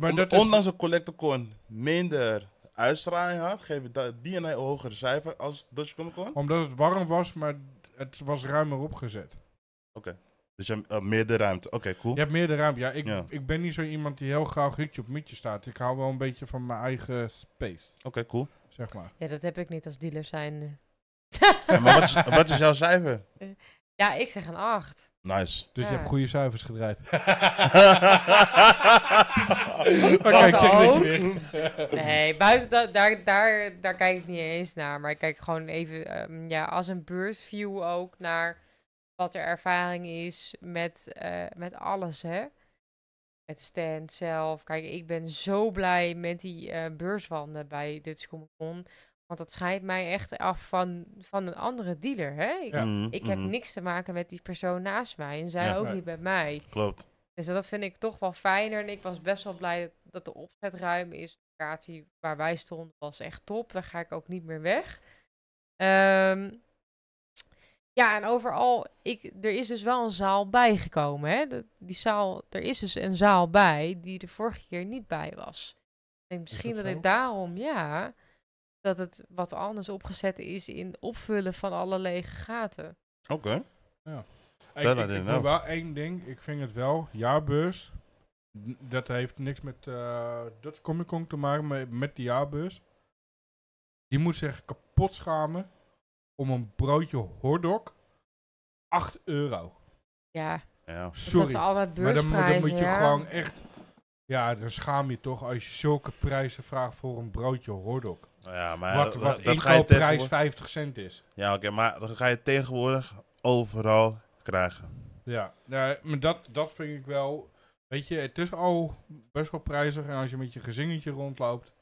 [SPEAKER 2] Maar dat is-
[SPEAKER 3] ondanks dat Collecticon minder uitstraling had, geven da- die een heel hogere cijfer als Dutch Comic Con.
[SPEAKER 2] omdat het warm was, maar het was ruimer opgezet.
[SPEAKER 3] Dus je hebt eh, meer de ruimte. Oké, cool.
[SPEAKER 2] Je hebt meer de ruimte. Ja, ik,
[SPEAKER 3] Ja.
[SPEAKER 2] ik ben niet zo iemand die heel graag hutje op mutje staat. Ik hou wel een beetje van mijn eigen space,
[SPEAKER 3] Oké, cool.
[SPEAKER 2] zeg maar.
[SPEAKER 1] Ja, dat heb ik niet als dealer zijn.
[SPEAKER 3] Ja, maar wat is, wat is jouw cijfer?
[SPEAKER 1] Ja, ik zeg een 8.
[SPEAKER 3] Nice.
[SPEAKER 2] Dus je
[SPEAKER 1] Ja.
[SPEAKER 2] hebt goede cijfers gedraaid.
[SPEAKER 1] Oké,
[SPEAKER 2] Oké, ik zeg niks
[SPEAKER 1] ook?
[SPEAKER 2] meer.
[SPEAKER 1] Nee, buiten dat, daar, daar, daar kijk ik niet eens naar. Maar ik kijk gewoon even ehm, ja, als een beursview ook naar wat er ervaring is met, eh, met alles, hè. Met de stand zelf. Kijk, ik ben zo blij met die eh, beurswanden bij Dutch Comic Con. Want dat scheidt mij echt af van, van een andere dealer, hè. Ik,
[SPEAKER 2] Ja.
[SPEAKER 3] Mhm,
[SPEAKER 1] ik heb
[SPEAKER 3] mhm.
[SPEAKER 1] niks te maken met die persoon naast mij. En zij
[SPEAKER 3] Ja.
[SPEAKER 1] ook
[SPEAKER 2] Nee.
[SPEAKER 1] niet met mij.
[SPEAKER 3] Klopt.
[SPEAKER 1] Dus dat vind ik toch wel fijner. En ik was best wel blij dat- dat de opzet ruim is. De locatie waar wij stonden was echt top. Daar ga ik ook niet meer weg. Ehm, ja, en overal, ik, er is dus wel een zaal bijgekomen. Hè? De- die zaal, er is dus een zaal bij die er vorige keer niet bij was. Ik denk misschien
[SPEAKER 2] dat
[SPEAKER 1] dat,
[SPEAKER 2] zo?
[SPEAKER 1] het daarom, ja, dat het wat anders opgezet is in opvullen van alle lege gaten.
[SPEAKER 3] Oké.
[SPEAKER 2] Ik,
[SPEAKER 3] Dat
[SPEAKER 2] ik,
[SPEAKER 3] had
[SPEAKER 2] ik
[SPEAKER 3] ik
[SPEAKER 2] doe
[SPEAKER 3] ook.
[SPEAKER 2] wel één ding. Ik vind het wel, jaarbeurs. n- Dat heeft niks met eh Dutch Comic Con te maken, maar met die jaarbeurs. Die moet zich kapot schamen om een broodje hotdog 8 euro.
[SPEAKER 1] Ja,
[SPEAKER 3] Ja.
[SPEAKER 1] dat
[SPEAKER 2] Sorry.
[SPEAKER 1] is altijd
[SPEAKER 2] Maar dan,
[SPEAKER 1] beursprijzen.
[SPEAKER 2] moet- dan moet je
[SPEAKER 1] ja.
[SPEAKER 2] gewoon echt... Ja, dan schaam je toch als je zulke prijzen vraagt voor een broodje hotdog.
[SPEAKER 3] Nou ja, maar
[SPEAKER 2] wat
[SPEAKER 3] dat-
[SPEAKER 2] wat
[SPEAKER 3] dat ga je
[SPEAKER 2] inkoopprijs
[SPEAKER 3] tegenwoordig...
[SPEAKER 2] 50 cent is.
[SPEAKER 3] Ja, oké, maar dat ga je tegenwoordig overal krijgen.
[SPEAKER 2] Ja, nou, maar dat, dat vind ik wel... Weet je, het is al best wel prijzig. En als je met je gezingetje rondloopt...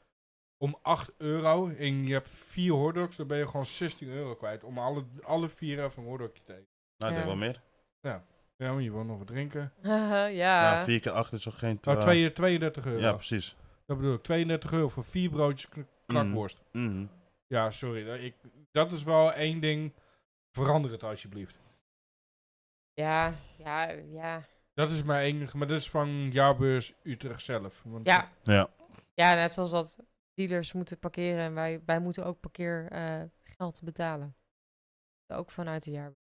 [SPEAKER 2] Om 8 euro en je hebt vier hotdogs, dan ben je gewoon 16 euro kwijt. Om alle, alle vier even een hotdogje te eten.
[SPEAKER 3] Nou,
[SPEAKER 1] Ja.
[SPEAKER 3] dat wel meer.
[SPEAKER 2] Ja, maar je wil nog wat drinken.
[SPEAKER 1] ja.
[SPEAKER 3] Ja, Nou, vier keer acht is toch geen...
[SPEAKER 2] Nou,
[SPEAKER 3] twa-
[SPEAKER 2] twee- 32 euro.
[SPEAKER 3] Ja, Mm. precies.
[SPEAKER 2] Dat bedoel ik, 32 euro voor vier broodjes kn- knakworst.
[SPEAKER 3] Mhm.
[SPEAKER 2] Ja, sorry. dat- Ik, dat is wel één ding. Verander het alsjeblieft.
[SPEAKER 1] ja, ja, ja.
[SPEAKER 2] Dat is mijn enige, maar dat is van jaarbeurs Utrecht zelf. Want
[SPEAKER 1] Ja.
[SPEAKER 3] Ja.
[SPEAKER 1] Ja, net zoals dat dealers moeten parkeren en wij, wij moeten ook parkeergeld geld betalen. Ook vanuit de jaar.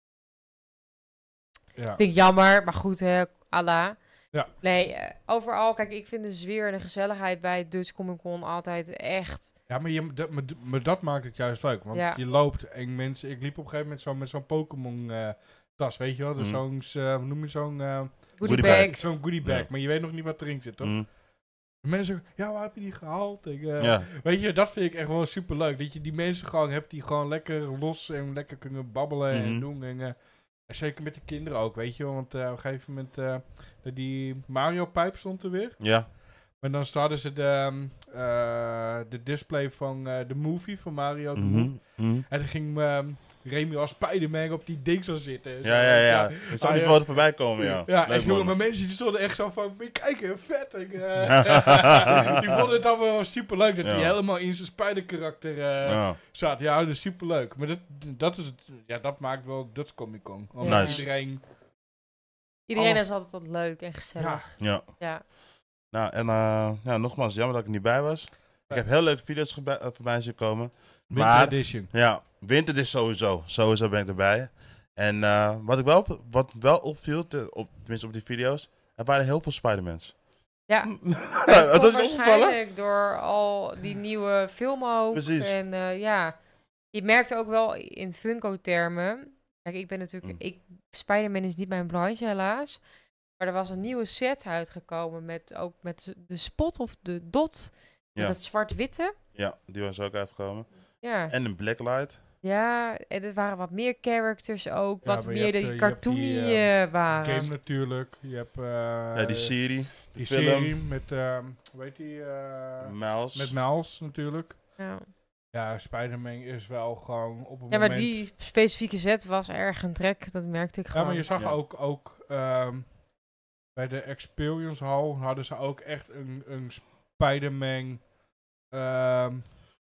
[SPEAKER 2] ja.
[SPEAKER 1] Vind ik jammer, maar goed, hè, Allah.
[SPEAKER 2] Ja.
[SPEAKER 1] Nee, eh, overal, kijk, ik vind de sfeer en de gezelligheid bij Dutch Comic Con altijd echt.
[SPEAKER 2] Ja, maar, je, dat, maar, d- maar dat maakt het juist leuk. Want
[SPEAKER 1] Ja.
[SPEAKER 2] je loopt en mensen... Ik liep op een gegeven moment zo met zo'n Pokémon eh, tas, weet je wel? Dus
[SPEAKER 3] Mhm.
[SPEAKER 2] Zo'n, eh, hoe noem je zo'n... eh,
[SPEAKER 1] Goodie
[SPEAKER 3] Goodie
[SPEAKER 1] bag.
[SPEAKER 3] bag.
[SPEAKER 2] zo'n goodie bag.
[SPEAKER 3] Ja.
[SPEAKER 2] Maar je weet nog niet wat erin zit, toch?
[SPEAKER 3] Mhm.
[SPEAKER 2] Mensen, ja, waar heb je die gehaald? Ik, eh,
[SPEAKER 3] Ja.
[SPEAKER 2] Weet je, dat vind ik echt wel super leuk. Dat je die mensen gewoon hebt die gewoon lekker los en lekker kunnen babbelen en
[SPEAKER 3] Mhm.
[SPEAKER 2] doen. En, eh, en zeker met de kinderen ook, weet je. wel. Want eh, op een gegeven moment, eh, die Mario-pijp stond er weer.
[SPEAKER 3] Ja.
[SPEAKER 2] Maar dan starten ze de, ehm, eh, de display van eh, de movie van Mario. de movie.
[SPEAKER 3] Mhm. Mhm.
[SPEAKER 2] En dan ging ehm Remy als Spider-Man op die ding zo zitten. en zo,
[SPEAKER 3] Ja, ja,
[SPEAKER 2] weet je
[SPEAKER 3] ja.
[SPEAKER 2] wel.
[SPEAKER 3] Ik zag
[SPEAKER 2] Ah,
[SPEAKER 3] die
[SPEAKER 2] Dus ja.
[SPEAKER 3] foto voorbij komen, ja.
[SPEAKER 2] Ja,
[SPEAKER 3] Leuk,
[SPEAKER 2] en jongen,
[SPEAKER 3] man.
[SPEAKER 2] maar mensen die stonden echt zo van, "Maar kijk, hè, vet. Ik, eh."
[SPEAKER 3] Ja.
[SPEAKER 2] die vonden het allemaal wel superleuk dat hij
[SPEAKER 3] Ja.
[SPEAKER 2] helemaal in zijn Spider-karakter eh,
[SPEAKER 3] Ja.
[SPEAKER 2] Zat, ja, dat is superleuk. Maar dat, dat, is het, ja, dat maakt wel Dutch Comic Con. Omdat
[SPEAKER 3] Nice.
[SPEAKER 2] iedereen...
[SPEAKER 1] Iedereen
[SPEAKER 2] alles-
[SPEAKER 1] is altijd wat leuk en
[SPEAKER 2] Ja,
[SPEAKER 1] gezellig.
[SPEAKER 3] Ja.
[SPEAKER 1] Ja.
[SPEAKER 3] Nou, en eh, ja, nogmaals, jammer dat ik er niet bij was. Ik heb heel leuke video's gebe- eh, voorbij zien komen.
[SPEAKER 2] Winter
[SPEAKER 3] Maar-
[SPEAKER 2] Edition.
[SPEAKER 3] Ja, winter is sowieso. Sowieso ben ik erbij. En eh, wat, ik wel, op- wat wel opviel, te- op, tenminste op die video's, er waren heel veel Spider-Mans.
[SPEAKER 1] Ja.
[SPEAKER 3] dat
[SPEAKER 1] Dat komt
[SPEAKER 3] is je opgevallen?
[SPEAKER 1] waarschijnlijk door al die nieuwe film ook.
[SPEAKER 3] Precies.
[SPEAKER 1] En eh, ja, je merkt ook wel in Funko-termen. Kijk, ik ben natuurlijk...
[SPEAKER 3] Mm.
[SPEAKER 1] Ik, Spider-Man is niet mijn branche, helaas. Maar er was een nieuwe set uitgekomen met ook met de spot of de dot. Met
[SPEAKER 3] Ja.
[SPEAKER 1] dat zwart-witte.
[SPEAKER 3] Ja, die was ook uitgekomen.
[SPEAKER 1] Ja.
[SPEAKER 3] En een Blacklight.
[SPEAKER 1] ja, en er waren wat meer characters ook.
[SPEAKER 2] Ja,
[SPEAKER 1] wat
[SPEAKER 2] maar je
[SPEAKER 1] meer
[SPEAKER 2] hebt,
[SPEAKER 1] die
[SPEAKER 2] eh, je hebt die,
[SPEAKER 1] cartoony
[SPEAKER 2] eh,
[SPEAKER 1] eh, waren.
[SPEAKER 2] Game natuurlijk. Je hebt eh,
[SPEAKER 3] ja, die serie.
[SPEAKER 2] die
[SPEAKER 3] film.
[SPEAKER 2] serie met... ehm hoe heet die? eh,
[SPEAKER 3] Miles.
[SPEAKER 2] met Miles natuurlijk.
[SPEAKER 1] Ja.
[SPEAKER 2] Ja, Spider-Man is wel gewoon op een
[SPEAKER 1] ja, maar
[SPEAKER 2] moment...
[SPEAKER 1] die specifieke set was erg een trek. Dat merkte ik
[SPEAKER 2] Ja,
[SPEAKER 1] gewoon.
[SPEAKER 2] maar je zag
[SPEAKER 3] Ja.
[SPEAKER 2] ook... ook ehm, bij de Experience Hall hadden ze ook echt een, een Spider-Man ehm,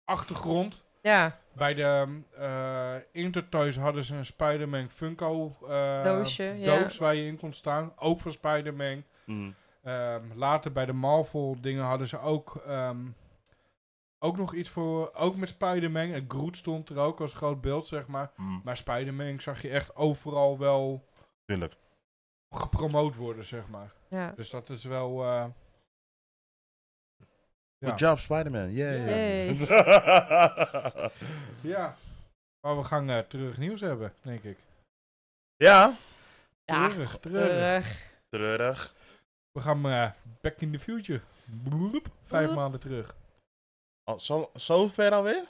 [SPEAKER 2] achtergrond.
[SPEAKER 1] Ja.
[SPEAKER 2] Bij de eh Intertoys hadden ze een Spider-Man Funko eh,
[SPEAKER 1] Doosje, ja.
[SPEAKER 2] doos waar je in kon staan. Ook van Spider-Man.
[SPEAKER 3] Mhm.
[SPEAKER 2] Ehm, later bij de Marvel dingen hadden ze ook, ehm, ook nog iets voor, ook met Spider-Man. En Groot stond er ook als groot beeld, zeg maar.
[SPEAKER 3] Mhm.
[SPEAKER 2] Maar Spider-Man zag je echt overal wel
[SPEAKER 3] Tuurlijk.
[SPEAKER 2] gepromoot worden, zeg maar.
[SPEAKER 1] Ja.
[SPEAKER 2] Dus dat is wel... eh, ja.
[SPEAKER 3] Good job, Spider-Man. Yay.
[SPEAKER 1] Yay.
[SPEAKER 2] ja. Maar we gaan eh, terug nieuws hebben, denk ik.
[SPEAKER 3] ja.
[SPEAKER 1] Ja, eh.
[SPEAKER 2] Terug, terug.
[SPEAKER 1] terug.
[SPEAKER 3] Treurig.
[SPEAKER 2] We gaan eh, back in the future. Bloep, vijf
[SPEAKER 1] Bloep.
[SPEAKER 2] maanden terug.
[SPEAKER 3] Al Oh, zo, zo ver alweer?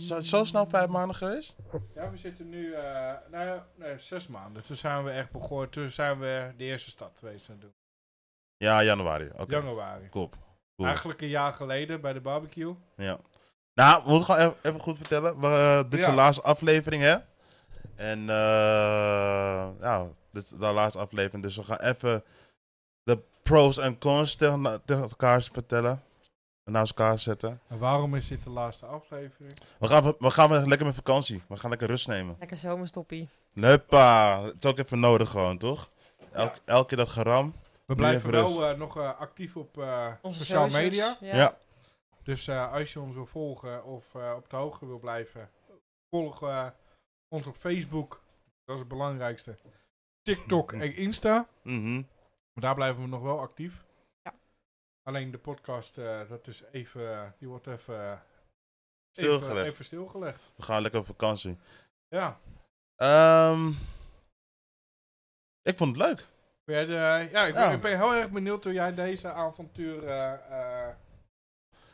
[SPEAKER 3] Zo, zo snel vijf maanden geweest?
[SPEAKER 2] Ja, we zitten nu, eh, nou ja, nee, zes maanden. Toen zijn we echt begonnen, toen zijn we de eerste stad geweest aan het doen.
[SPEAKER 3] Ja, januari. Oké.
[SPEAKER 2] Januari.
[SPEAKER 3] Klopt. Cool.
[SPEAKER 2] Eigenlijk een jaar geleden bij de barbecue.
[SPEAKER 3] Ja. Nou, we moeten gewoon even, even goed vertellen. We, eh, dit is
[SPEAKER 2] Ja.
[SPEAKER 3] de laatste aflevering, hè? En, eh nou, dit is de laatste aflevering. Dus we gaan even de pros en cons tegen, na- tegen elkaar vertellen. En naast elkaar zetten.
[SPEAKER 2] En waarom is dit de laatste aflevering?
[SPEAKER 3] We gaan, we, we gaan weer lekker met vakantie. We gaan lekker rust nemen.
[SPEAKER 1] Lekker zomerstoppie.
[SPEAKER 3] Huppa. Het is ook even nodig gewoon, toch? Elk, Elke keer dat geram.
[SPEAKER 2] We blijven
[SPEAKER 3] even
[SPEAKER 2] wel
[SPEAKER 3] rust.
[SPEAKER 2] eh, nog eh, actief op eh,
[SPEAKER 1] Onze
[SPEAKER 2] sociale
[SPEAKER 1] socials,
[SPEAKER 2] media.
[SPEAKER 1] Ja.
[SPEAKER 3] Ja.
[SPEAKER 2] Dus eh, als je ons wil volgen of eh, op de hoogte wil blijven, volg eh, ons op Facebook. Dat is het belangrijkste. TikTok en Insta.
[SPEAKER 3] Mhm.
[SPEAKER 2] Maar daar blijven we nog wel actief.
[SPEAKER 1] Ja.
[SPEAKER 2] Alleen de podcast, eh, dat is even, eh, die wordt even, even-
[SPEAKER 3] Stilgelegd.
[SPEAKER 2] Even, stilgelegd.
[SPEAKER 3] We gaan lekker op vakantie.
[SPEAKER 2] Ja,
[SPEAKER 3] Ehm, ik vond het leuk.
[SPEAKER 2] Ben jij de- ja, ik ben,
[SPEAKER 3] Ja.
[SPEAKER 2] ik ben heel erg benieuwd hoe jij deze avontuur... eh, eh,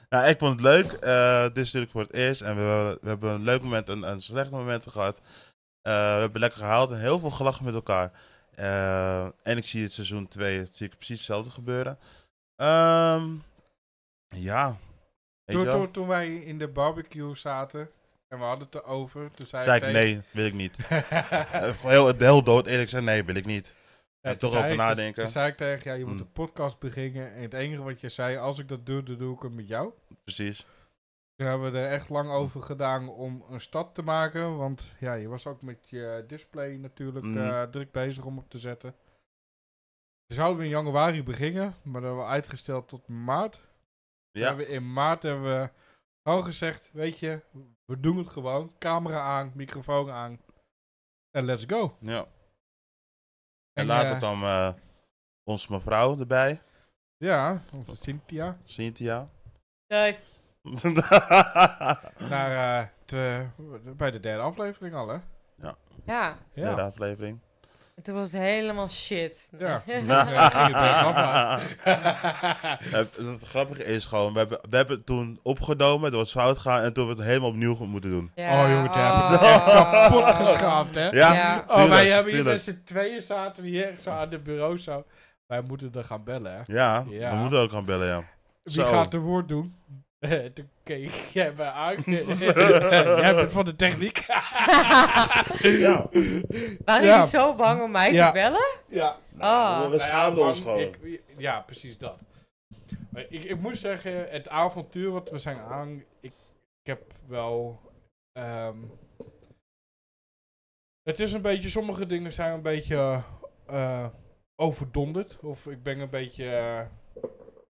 [SPEAKER 3] Nou, ik vond het leuk. Eh, dit is natuurlijk voor het eerst. En we, we hebben een leuk moment en een slecht moment gehad. Eh, we hebben lekker gehaald en heel veel gelachen met elkaar. Eh, en ik zie het seizoen 2 het zie ik precies hetzelfde gebeuren. Ehm, ja. Weet
[SPEAKER 2] toen,
[SPEAKER 3] je wel?
[SPEAKER 2] toen, toen wij in de barbecue zaten en we hadden het erover, toen zei,
[SPEAKER 3] zei ik
[SPEAKER 2] tegen-
[SPEAKER 3] nee, wil ik niet. Eh, Gewoon heel, heel dood eerlijk zei nee, wil ik niet.
[SPEAKER 2] Ja, toen
[SPEAKER 3] En toch
[SPEAKER 2] zei
[SPEAKER 3] over
[SPEAKER 2] ik-
[SPEAKER 3] nadenken.
[SPEAKER 2] Toen zei ik tegen jou, je moet
[SPEAKER 3] Mm.
[SPEAKER 2] een podcast beginnen. En het enige wat je zei, als ik dat doe, dan doe ik het met jou.
[SPEAKER 3] Precies.
[SPEAKER 2] Toen hebben we er echt lang over gedaan om een stap te maken. Want ja, je was ook met je display natuurlijk
[SPEAKER 3] Mm.
[SPEAKER 2] eh, druk bezig om op te zetten. We zouden we in januari beginnen, maar dat hebben we uitgesteld tot maart. Toen
[SPEAKER 3] Ja.
[SPEAKER 2] hebben we in maart hebben we gewoon gezegd, weet je, we doen het gewoon. Camera aan, microfoon aan. En let's go.
[SPEAKER 3] ja. En,
[SPEAKER 2] eh,
[SPEAKER 3] later kwam eh, ons mevrouw erbij,
[SPEAKER 2] Ja, onze Cynthia.
[SPEAKER 3] Cynthia.
[SPEAKER 1] Nee,
[SPEAKER 2] Naar, eh, te- bij de derde aflevering al, hè?
[SPEAKER 1] ja.
[SPEAKER 3] Derde aflevering.
[SPEAKER 1] En toen was het helemaal shit.
[SPEAKER 2] Ja.
[SPEAKER 1] Nee.
[SPEAKER 2] Ja, ging het bergaf, maar-
[SPEAKER 3] Het, het grappige is gewoon, we hebben, we hebben het toen opgenomen, door het fout gegaan en toen hebben we het helemaal opnieuw ge- moeten doen.
[SPEAKER 1] Ja,
[SPEAKER 2] Oh, jongen, daar heb je
[SPEAKER 1] oh.
[SPEAKER 2] het echt kapot geschaafd, hè?
[SPEAKER 3] Ja,
[SPEAKER 1] Ja.
[SPEAKER 2] Oh, wij hebben hier
[SPEAKER 3] tuurlijk.
[SPEAKER 2] met z'n tweeën zaten we hier echt zo aan het bureau zo. Wij moeten er gaan bellen, hè?
[SPEAKER 3] Ja,
[SPEAKER 2] Ja.
[SPEAKER 3] we moeten ook gaan bellen, ja.
[SPEAKER 2] Wie
[SPEAKER 3] Zo.
[SPEAKER 2] gaat de woord doen? Toen keek jij mij aan. jij bent van de techniek.
[SPEAKER 3] Ja.
[SPEAKER 1] Waren
[SPEAKER 2] Ja.
[SPEAKER 1] jullie zo bang om mij
[SPEAKER 2] Ja.
[SPEAKER 1] te bellen?
[SPEAKER 2] ja.
[SPEAKER 1] Ah.
[SPEAKER 3] we- we
[SPEAKER 2] Nou ja,
[SPEAKER 3] schaamden ons
[SPEAKER 2] man,
[SPEAKER 3] gewoon.
[SPEAKER 2] ik- ja, precies dat. Maar ik, ik moet zeggen, het avontuur wat we zijn aan... Ik, ik heb wel... ehm, het is een beetje... Sommige dingen zijn een beetje eh, overdonderd. Of ik ben een beetje... eh,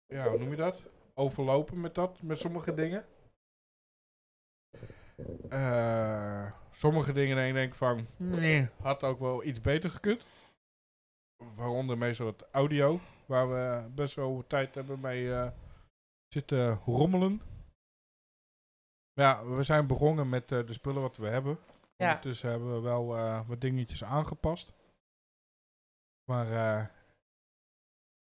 [SPEAKER 2] ja, hoe noem je dat? Overlopen met dat, met sommige dingen. Eh, sommige dingen denk ik denk van... Nee, had ook wel iets beter gekund. Waaronder meestal het audio, waar we best wel tijd hebben mee eh, zitten rommelen. Maar ja, we zijn begonnen met eh, de spullen wat we hebben.
[SPEAKER 1] Ja.
[SPEAKER 2] Ondertussen hebben we wel eh, wat dingetjes aangepast. Maar eh,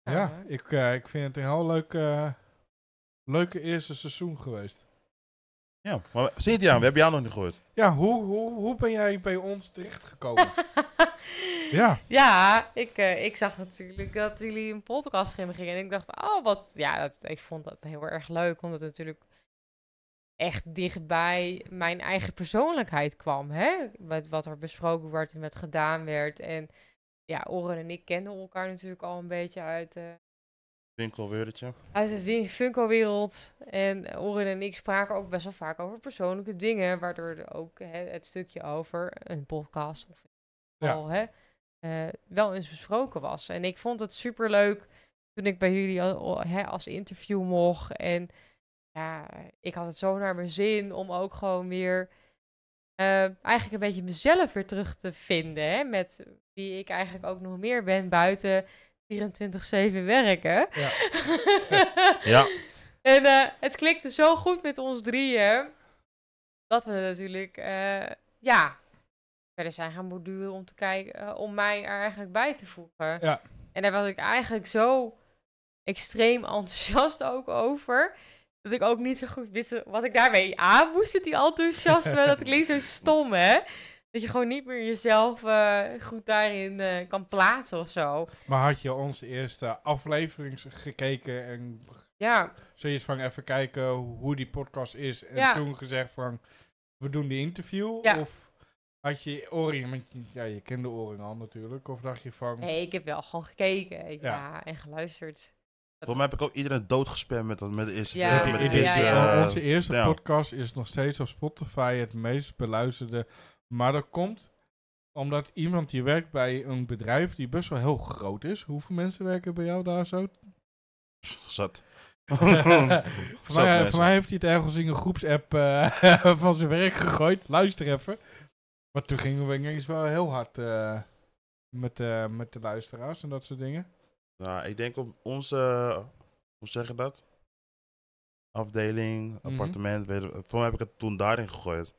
[SPEAKER 1] Ja.
[SPEAKER 2] ja, ik, eh, ik vind het een heel leuk, eh, leuke eerste seizoen geweest.
[SPEAKER 3] Ja, maar Cynthia, we hebben jou nog niet gehoord.
[SPEAKER 2] Ja, hoe, hoe, hoe ben jij bij ons terechtgekomen? ja,
[SPEAKER 1] Ja, ik, eh, ik zag natuurlijk dat jullie een podcast gingen beginnen. En ik dacht, oh, wat. Ja, dat, ik vond dat heel erg leuk. Omdat het natuurlijk echt dichtbij mijn eigen persoonlijkheid kwam. Hè? Wat, wat er besproken werd en wat gedaan werd. En ja, Oren en ik kenden elkaar natuurlijk al een beetje uit, eh,
[SPEAKER 3] Winkelweurtje.
[SPEAKER 1] uit het win- Funko-wereld. En Oren en ik spraken ook best wel vaak over persoonlijke dingen. Waardoor er ook hè, het stukje over een podcast of
[SPEAKER 2] Ja.
[SPEAKER 1] al, hè, eh, wel eens besproken was. En ik vond het superleuk toen ik bij jullie al, al- hè, als interview mocht. En ja, ik had het zo naar mijn zin om ook gewoon weer eh, eigenlijk een beetje mezelf weer terug te vinden. Hè, met wie ik eigenlijk ook nog meer ben buiten 24-7 werken.
[SPEAKER 2] Ja.
[SPEAKER 3] Ja.
[SPEAKER 1] En eh, het klikte zo goed met ons drieën. Dat we natuurlijk, eh, ja, verder zijn gaan borduren om te kijken, eh, om mij er eigenlijk bij te voegen.
[SPEAKER 2] Ja.
[SPEAKER 1] En daar was ik eigenlijk zo extreem enthousiast ook over. Dat ik ook niet zo goed wist wat ik daarmee aan moest met die enthousiasme. dat klinkt zo stom, hè? Dat je gewoon niet meer jezelf eh, goed daarin eh, kan plaatsen of zo.
[SPEAKER 2] maar had je onze eerste aflevering gekeken en
[SPEAKER 1] Ja,
[SPEAKER 2] zoiets van even kijken hoe die podcast is. En
[SPEAKER 1] Ja.
[SPEAKER 2] toen gezegd van, we doen die interview.
[SPEAKER 1] Ja.
[SPEAKER 2] Of had je Orien, want je- ja, je kende Orien al natuurlijk. Of dacht je van,
[SPEAKER 1] nee, ik heb wel gewoon gekeken. Ja,
[SPEAKER 2] Ja.
[SPEAKER 1] en geluisterd.
[SPEAKER 3] Voor mij heb ik ook iedereen doodgespamd met, dat- met de eerste...
[SPEAKER 1] Ja,
[SPEAKER 3] met de
[SPEAKER 1] ja,
[SPEAKER 3] eerste,
[SPEAKER 1] ja.
[SPEAKER 3] eh,
[SPEAKER 2] onze eerste
[SPEAKER 3] ja.
[SPEAKER 2] podcast is nog steeds op Spotify het meest beluisterde. Maar dat komt omdat iemand die werkt bij een bedrijf die best wel heel groot is. Hoeveel mensen werken bij jou daar zo?
[SPEAKER 3] Zat.
[SPEAKER 2] voor,
[SPEAKER 3] Zat
[SPEAKER 2] mij,
[SPEAKER 3] mensen.
[SPEAKER 2] voor mij heeft hij het ergens in een groepsapp eh, van zijn werk gegooid. Luister even. Maar toen gingen we ineens wel heel hard eh, met, eh, met de luisteraars en dat soort dingen.
[SPEAKER 3] Nou, ik denk op onze, hoe zeg je dat? Afdeling,
[SPEAKER 2] Mhm.
[SPEAKER 3] appartement, weet ik- voor mij heb ik het toen daarin gegooid.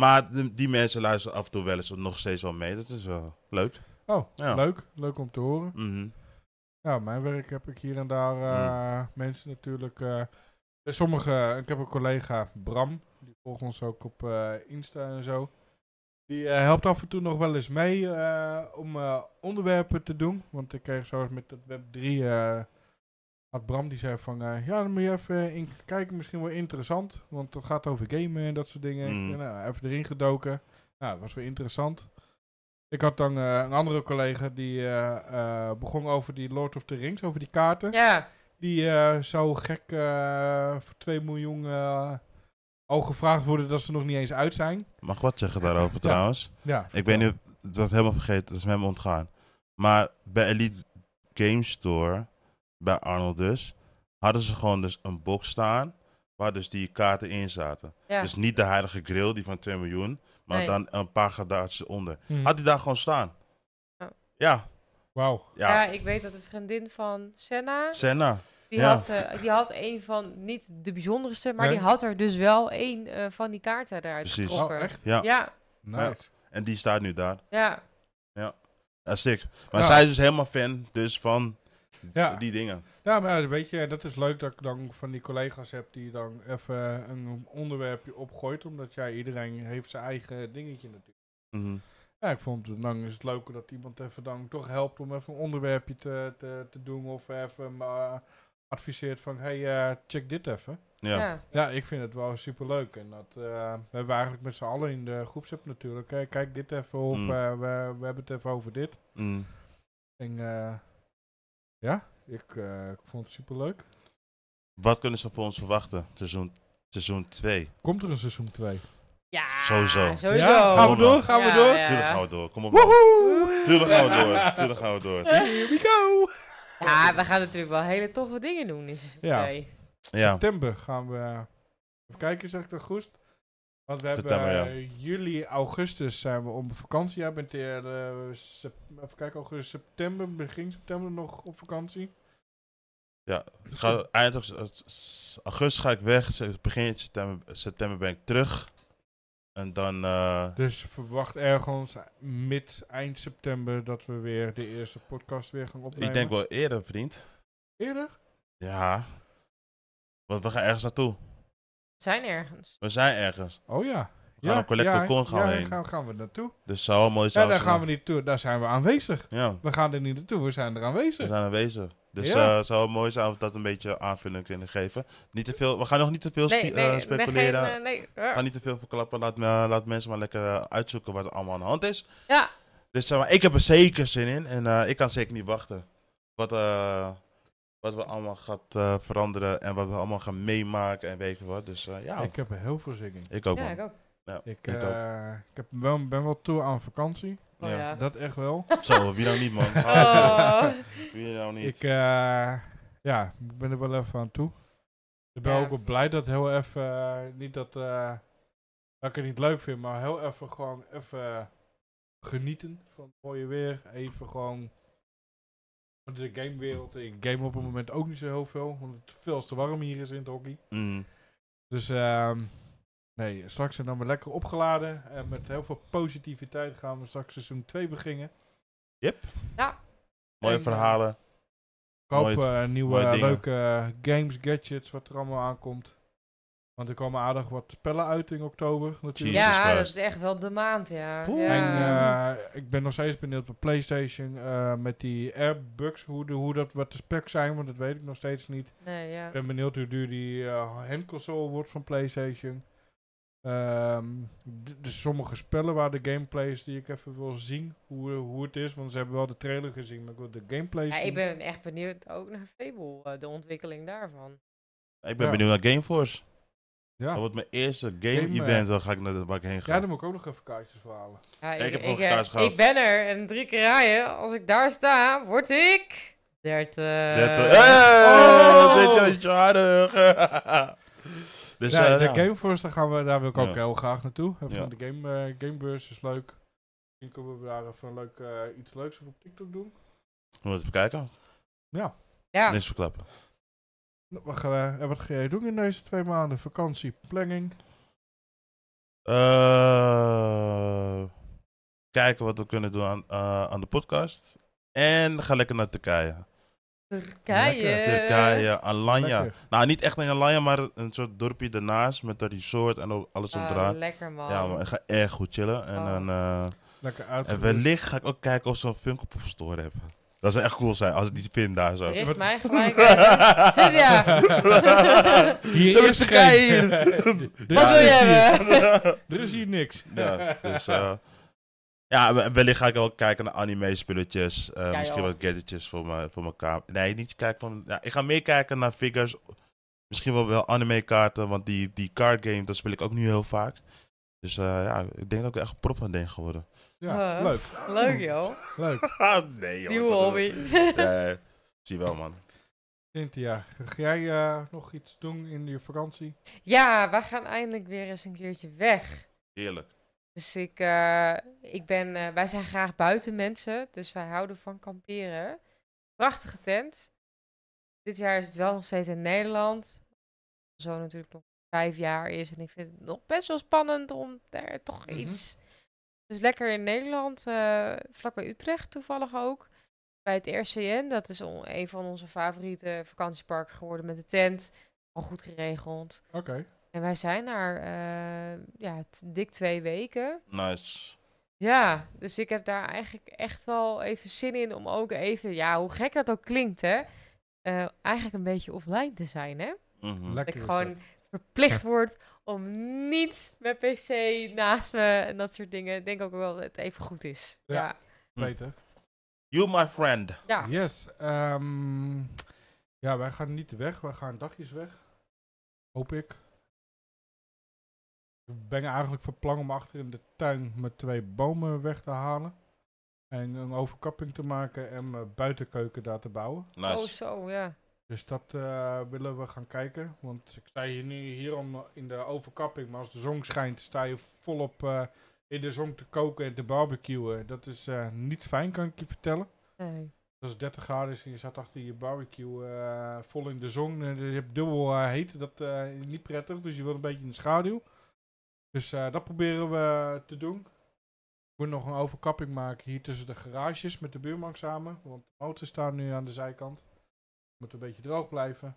[SPEAKER 3] Maar de- die mensen luisteren af en toe wel eens nog steeds wel mee. Dat is wel leuk.
[SPEAKER 2] Oh,
[SPEAKER 3] Ja.
[SPEAKER 2] leuk. Leuk om te horen.
[SPEAKER 3] Mhm.
[SPEAKER 2] Ja, op mijn werk heb ik hier en daar eh, mensen natuurlijk. eh, sommige, ik heb een collega Bram, die volgt ons ook op eh, Insta en zo. Die eh, helpt af en toe nog wel eens mee eh, om eh, onderwerpen te doen. Want ik kreeg zoals met dat Web3, eh, had Bram die zei van, eh, ja dan moet je even in kijken, misschien wel interessant. Want het gaat over gamen en dat soort dingen. Ik
[SPEAKER 3] Mm.
[SPEAKER 2] ben, nou, even erin gedoken. Nou, dat was weer interessant. Ik had dan eh, een andere collega die eh, eh, begon over die Lord of the Rings, over die kaarten.
[SPEAKER 1] Ja,
[SPEAKER 2] Die eh, zou gek eh, voor 2 miljoen eh, al gevraagd worden dat ze nog niet eens uit zijn.
[SPEAKER 3] Mag ik wat zeggen daarover trouwens?
[SPEAKER 2] Ja.
[SPEAKER 3] Ik weet nu, het was helemaal vergeten, dat is me helemaal ontgaan. Maar bij Elite Game Store, bij Arnold dus, hadden ze gewoon dus een box staan waar dus die kaarten in zaten.
[SPEAKER 1] ja.
[SPEAKER 3] Dus niet de heilige grill, die van 2 miljoen, maar
[SPEAKER 1] Nee.
[SPEAKER 3] dan een paar gradaties onder.
[SPEAKER 2] Hm.
[SPEAKER 3] Had die daar gewoon staan?
[SPEAKER 1] Oh.
[SPEAKER 3] Ja,
[SPEAKER 2] Wauw.
[SPEAKER 1] ja,
[SPEAKER 3] ja.
[SPEAKER 1] ik weet dat een vriendin van Senna,
[SPEAKER 3] Senna.
[SPEAKER 1] Die,
[SPEAKER 3] Ja.
[SPEAKER 1] had, eh, die had een van, niet de bijzonderste, maar
[SPEAKER 2] Nee.
[SPEAKER 1] die had er dus wel één eh, van die kaarten eruit
[SPEAKER 3] Precies.
[SPEAKER 2] Oh,
[SPEAKER 1] getrokken.
[SPEAKER 2] echt?
[SPEAKER 3] Ja.
[SPEAKER 1] Ja,
[SPEAKER 2] Nice.
[SPEAKER 3] En die staat nu daar.
[SPEAKER 1] ja.
[SPEAKER 3] Dat is sick. Maar
[SPEAKER 2] Ja.
[SPEAKER 3] zij is dus helemaal fan dus van
[SPEAKER 2] Ja.
[SPEAKER 3] die dingen.
[SPEAKER 2] Ja, Nou, maar ja, weet je, dat is leuk dat ik dan van die collega's heb die dan even een onderwerpje opgooit. Omdat ja, iedereen heeft zijn eigen dingetje natuurlijk.
[SPEAKER 3] Mhm.
[SPEAKER 2] Ja, ik vond het dan is het leuk dat iemand even dan toch helpt om even een onderwerpje te, te, te doen. Of even eh, adviseert van, hey, eh, check dit even.
[SPEAKER 1] ja.
[SPEAKER 3] Ja.
[SPEAKER 2] Ja, ik vind het wel superleuk. En dat eh, we hebben eigenlijk met z'n allen in de groepsapp natuurlijk. hè, kijk dit even of
[SPEAKER 3] Mm.
[SPEAKER 2] eh, we, we hebben het even over dit.
[SPEAKER 3] Mhm.
[SPEAKER 2] En eh, ja, ik, eh, ik vond het superleuk.
[SPEAKER 3] Wat kunnen ze voor ons verwachten? Seizoen, seizoen 2.
[SPEAKER 2] Komt er een seizoen 2?
[SPEAKER 1] Ja,
[SPEAKER 3] Sowieso.
[SPEAKER 1] sowieso.
[SPEAKER 2] Ja, gaan we
[SPEAKER 3] Gewoon
[SPEAKER 2] door, gaan we
[SPEAKER 1] Ja,
[SPEAKER 2] door.
[SPEAKER 1] ja.
[SPEAKER 3] Tuurlijk gaan we door. Kom op. man.
[SPEAKER 2] Woehoe!
[SPEAKER 3] Tuurlijk gaan we door. Tuurlijk gaan we door.
[SPEAKER 2] Here we go!
[SPEAKER 1] Ja, we gaan natuurlijk wel hele toffe dingen doen. Is
[SPEAKER 2] Ja.
[SPEAKER 1] nee.
[SPEAKER 3] Ja.
[SPEAKER 2] September gaan we... Even kijken, zeg ik dat goed? Want we hebben
[SPEAKER 3] September, ja.
[SPEAKER 2] eh, juli, augustus zijn we op vakantie. Jij bent eerder, eh, sep- even kijken, augustus, september, begin september nog op vakantie. Dus
[SPEAKER 3] Ik Ga, eind augustus- s- augustus ga ik weg. Se- Begin september, september ben ik terug. En dan... eh,
[SPEAKER 2] Dus verwacht ergens mid, eind september dat we weer de eerste podcast weer gaan opnemen.
[SPEAKER 3] ik denk wel eerder, vriend.
[SPEAKER 2] Eerder?
[SPEAKER 3] Ja. Want we gaan ergens naartoe.
[SPEAKER 1] We zijn ergens.
[SPEAKER 3] We zijn ergens.
[SPEAKER 2] Oh ja.
[SPEAKER 3] We gaan op Collector Con gaan
[SPEAKER 2] ja,
[SPEAKER 3] we
[SPEAKER 2] daar
[SPEAKER 3] heen.
[SPEAKER 2] Gaan, gaan we naartoe.
[SPEAKER 3] Dus zou wel mooi zijn.
[SPEAKER 2] Ja, daar
[SPEAKER 3] als we-
[SPEAKER 2] gaan we niet toe. Daar zijn we aanwezig.
[SPEAKER 3] Ja,
[SPEAKER 2] We gaan er niet naartoe, we zijn er
[SPEAKER 3] we
[SPEAKER 2] aanwezig.
[SPEAKER 3] zijn aanwezig. Dus eh, het
[SPEAKER 2] Ja.
[SPEAKER 3] zou wel mooi zijn als we dat een beetje aanvulling kunnen geven. Niet te veel, we gaan nog niet te veel spe-
[SPEAKER 1] Nee, nee,
[SPEAKER 3] eh,
[SPEAKER 1] nee,
[SPEAKER 3] speculeren.
[SPEAKER 1] geen, eh, nee.
[SPEAKER 3] Ik
[SPEAKER 1] Ja.
[SPEAKER 3] ga niet te veel verklappen. Laat, me- laat mensen maar lekker eh, uitzoeken wat er allemaal aan de hand is.
[SPEAKER 1] Ja.
[SPEAKER 3] Dus zeg maar, ik heb er zeker zin in. En eh, ik kan zeker niet wachten. Wat, eh, wat we allemaal gaat eh, veranderen. En wat we allemaal gaan meemaken. En weet je wat. Dus eh, ja, ik,
[SPEAKER 2] Ik heb er heel veel zin in.
[SPEAKER 3] ook
[SPEAKER 1] Ja,
[SPEAKER 3] man.
[SPEAKER 1] ik ook.
[SPEAKER 2] Ik,
[SPEAKER 3] Ik
[SPEAKER 2] eh, ik heb wel, ben wel toe aan vakantie.
[SPEAKER 1] Oh,
[SPEAKER 3] Ja.
[SPEAKER 1] ja.
[SPEAKER 2] Dat echt wel.
[SPEAKER 3] Zo, wie nou niet man.
[SPEAKER 1] Oh.
[SPEAKER 3] Wie nou niet.
[SPEAKER 2] Ik, eh, ja, ik ben er wel even aan toe. Ik ben
[SPEAKER 1] Ja.
[SPEAKER 2] ook wel blij dat heel even, eh, niet dat, eh, dat ik het niet leuk vind, maar heel even gewoon even genieten van het mooie weer. Even gewoon, want de gamewereld, ik game op het moment ook niet zo heel veel, want het veel te warm hier is in het hockey.
[SPEAKER 3] Mm.
[SPEAKER 2] Dus ehm, nee, straks zijn we maar lekker opgeladen en met heel veel positiviteit gaan we straks seizoen 2 beginnen.
[SPEAKER 3] Mooie
[SPEAKER 1] eh,
[SPEAKER 2] en-
[SPEAKER 3] verhalen.
[SPEAKER 2] Ik hoop
[SPEAKER 3] Nooit.
[SPEAKER 2] eh, nieuwe
[SPEAKER 3] Mooie dingen.
[SPEAKER 2] leuke eh, games, gadgets, wat er allemaal aankomt. Want er komen aardig wat spellen uit in oktober natuurlijk.
[SPEAKER 3] Jezus
[SPEAKER 1] ja, dat
[SPEAKER 3] Christ.
[SPEAKER 1] is echt wel de maand, ja.
[SPEAKER 2] Oeh.
[SPEAKER 1] ja.
[SPEAKER 2] En eh, ik ben nog steeds benieuwd op PlayStation eh, met die airbugs, hoe, de, hoe dat wat de specs zijn, want dat weet ik nog steeds niet.
[SPEAKER 1] nee, ja.
[SPEAKER 2] Ik ben benieuwd hoe duur die eh handconsole wordt van PlayStation. Ehm, d- dus sommige spellen waar de gameplay is die ik even wil zien, hoe, hoe het is. Want ze hebben wel de trailer gezien, maar ik wil de gameplay
[SPEAKER 1] Ja,
[SPEAKER 2] zien.
[SPEAKER 1] ik ben echt benieuwd ook naar Fable, eh, de ontwikkeling daarvan.
[SPEAKER 3] Ik ben
[SPEAKER 2] Ja.
[SPEAKER 3] benieuwd naar Gameforce.
[SPEAKER 2] ja.
[SPEAKER 3] Dat wordt mijn eerste
[SPEAKER 2] Game, eh,
[SPEAKER 3] game-event. Dan ga ik naar de waar ik heen
[SPEAKER 2] ja,
[SPEAKER 3] gaan.
[SPEAKER 2] daar moet ik ook nog even kaartjes voor halen.
[SPEAKER 1] Ja,
[SPEAKER 3] Ik heb ook
[SPEAKER 1] eh,
[SPEAKER 3] kaars gehad.
[SPEAKER 1] ik ben er en drie keer rijden. Als ik daar sta, word ik eh, Oh! 30.
[SPEAKER 2] eh,
[SPEAKER 3] Dertig- eh, Hey, dat zit je als je harder. Dus
[SPEAKER 2] ja,
[SPEAKER 3] eh,
[SPEAKER 2] de
[SPEAKER 3] ja.
[SPEAKER 2] Gameforce, daar, gaan we, daar wil ik ook
[SPEAKER 3] Ja.
[SPEAKER 2] heel graag naartoe. Even
[SPEAKER 3] Ja.
[SPEAKER 2] De game, eh, Gamebeurs is leuk. Misschien kunnen we daar even een leuk, eh, iets leuks op op TikTok doen.
[SPEAKER 3] Moeten we even kijken?
[SPEAKER 2] Ja.
[SPEAKER 1] Ja,
[SPEAKER 3] Niks verklappen.
[SPEAKER 2] Nou, Wat, gaan we- en wat ga jij doen in deze twee maanden? Vakantie, planning.
[SPEAKER 3] Eh, Kijken wat we kunnen doen aan, eh, aan de podcast. En ga lekker naar Turkije.
[SPEAKER 1] Turkije. Ah,
[SPEAKER 3] Turkije, Alanya.
[SPEAKER 2] Lekker.
[SPEAKER 3] Nou, niet echt in Alanya, maar een soort dorpje daarnaast met een resort en o- alles op
[SPEAKER 1] Ah,
[SPEAKER 3] draad.
[SPEAKER 1] lekker man.
[SPEAKER 3] Ja, maar ik ga erg goed chillen. En,
[SPEAKER 1] Oh.
[SPEAKER 3] dan, eh,
[SPEAKER 2] Lekker
[SPEAKER 3] en
[SPEAKER 2] uitgerust.
[SPEAKER 3] wellicht ga ik ook kijken of ze een Funko Pop store hebben. Dat zou echt cool zijn als ik die vind daar zo.
[SPEAKER 1] Richt
[SPEAKER 2] Wat-
[SPEAKER 1] mij gelijk. even. Zit ja.
[SPEAKER 2] Hier
[SPEAKER 3] Zo
[SPEAKER 2] is
[SPEAKER 3] is de
[SPEAKER 2] geen.
[SPEAKER 3] kei hier.
[SPEAKER 1] Wat wil je
[SPEAKER 2] is hier-
[SPEAKER 1] hebben?
[SPEAKER 2] Er is hier niks.
[SPEAKER 3] Ja, dus, eh, ja, we- wellicht ga ik wel kijken naar anime-spulletjes. eh,
[SPEAKER 1] Ja,
[SPEAKER 3] misschien
[SPEAKER 1] joh.
[SPEAKER 3] wel gadgetjes voor mijn, voor mijn kamer. Nee, niet kijken van... Ja, ik ga meer kijken naar figures. Misschien wel, wel anime-kaarten, want die, die card game, dat speel ik ook nu heel vaak. Dus eh, ja, ik denk dat ik er echt prof van ben geworden. Ah,
[SPEAKER 2] Ja,
[SPEAKER 1] Huh.
[SPEAKER 2] leuk.
[SPEAKER 1] Leuk joh.
[SPEAKER 2] Leuk.
[SPEAKER 3] nee, joh.
[SPEAKER 1] Nieuwe hobby.
[SPEAKER 3] Nee, zie wel, man.
[SPEAKER 2] Cynthia, ga jij eh, nog iets doen in je vakantie?
[SPEAKER 1] Ja, wij gaan eindelijk weer eens een keertje weg.
[SPEAKER 3] Heerlijk.
[SPEAKER 1] Dus ik, eh, ik ben, eh, wij zijn graag buiten mensen, dus wij houden van kamperen. Prachtige tent. Dit jaar is het wel nog steeds in Nederland. Zo natuurlijk nog vijf jaar is. En ik vind het nog best wel spannend om daar toch
[SPEAKER 2] Mhm.
[SPEAKER 1] iets. Dus lekker in Nederland, eh vlakbij Utrecht toevallig ook. Bij het RCN, dat is on- een van onze favoriete vakantieparken geworden met de tent. Al goed geregeld.
[SPEAKER 2] Oké.
[SPEAKER 1] En wij zijn daar eh, ja, t- dik twee weken.
[SPEAKER 3] Nice.
[SPEAKER 1] Ja, dus ik heb daar eigenlijk echt wel even zin in om ook even, ja, hoe gek dat ook klinkt, hè? eh, eigenlijk een beetje offline te zijn, hè?
[SPEAKER 3] Mhm.
[SPEAKER 1] Dat
[SPEAKER 2] Lekker.
[SPEAKER 1] ik
[SPEAKER 2] is
[SPEAKER 1] gewoon
[SPEAKER 2] dat.
[SPEAKER 1] verplicht word om niet mijn pc naast me en dat soort dingen. Ik denk ook wel dat het even goed is.
[SPEAKER 2] Ja.
[SPEAKER 1] Ja,
[SPEAKER 3] Hm.
[SPEAKER 2] Beter.
[SPEAKER 3] You, my friend.
[SPEAKER 1] ja.
[SPEAKER 2] Yes. ehm, ja, wij gaan niet weg. Wij gaan dagjes weg. Hoop ik. Ik ben eigenlijk van plan om achter in de tuin mijn twee bomen weg te halen. En een overkapping te maken en mijn buitenkeuken daar te bouwen.
[SPEAKER 3] Nice.
[SPEAKER 1] Oh, zo, ja.
[SPEAKER 2] Dus dat eh, willen we gaan kijken. Want ik sta hier nu hier om, in de overkapping. Maar als de zon schijnt, sta je volop eh, in de zon te koken en te barbecuen. Dat is eh, niet fijn, kan ik je vertellen.
[SPEAKER 1] Nee.
[SPEAKER 2] Als het 30 graden is en je zat achter je barbecue eh, vol in de zon. En je hebt dubbel eh, heet, dat eh, is niet prettig. Dus je wil een beetje in de schaduw. Dus eh, dat proberen we te doen. Ik moet nog een overkapping maken hier tussen de garages met de buurman samen. Want de auto's staan nu aan de zijkant. Moet een beetje droog blijven.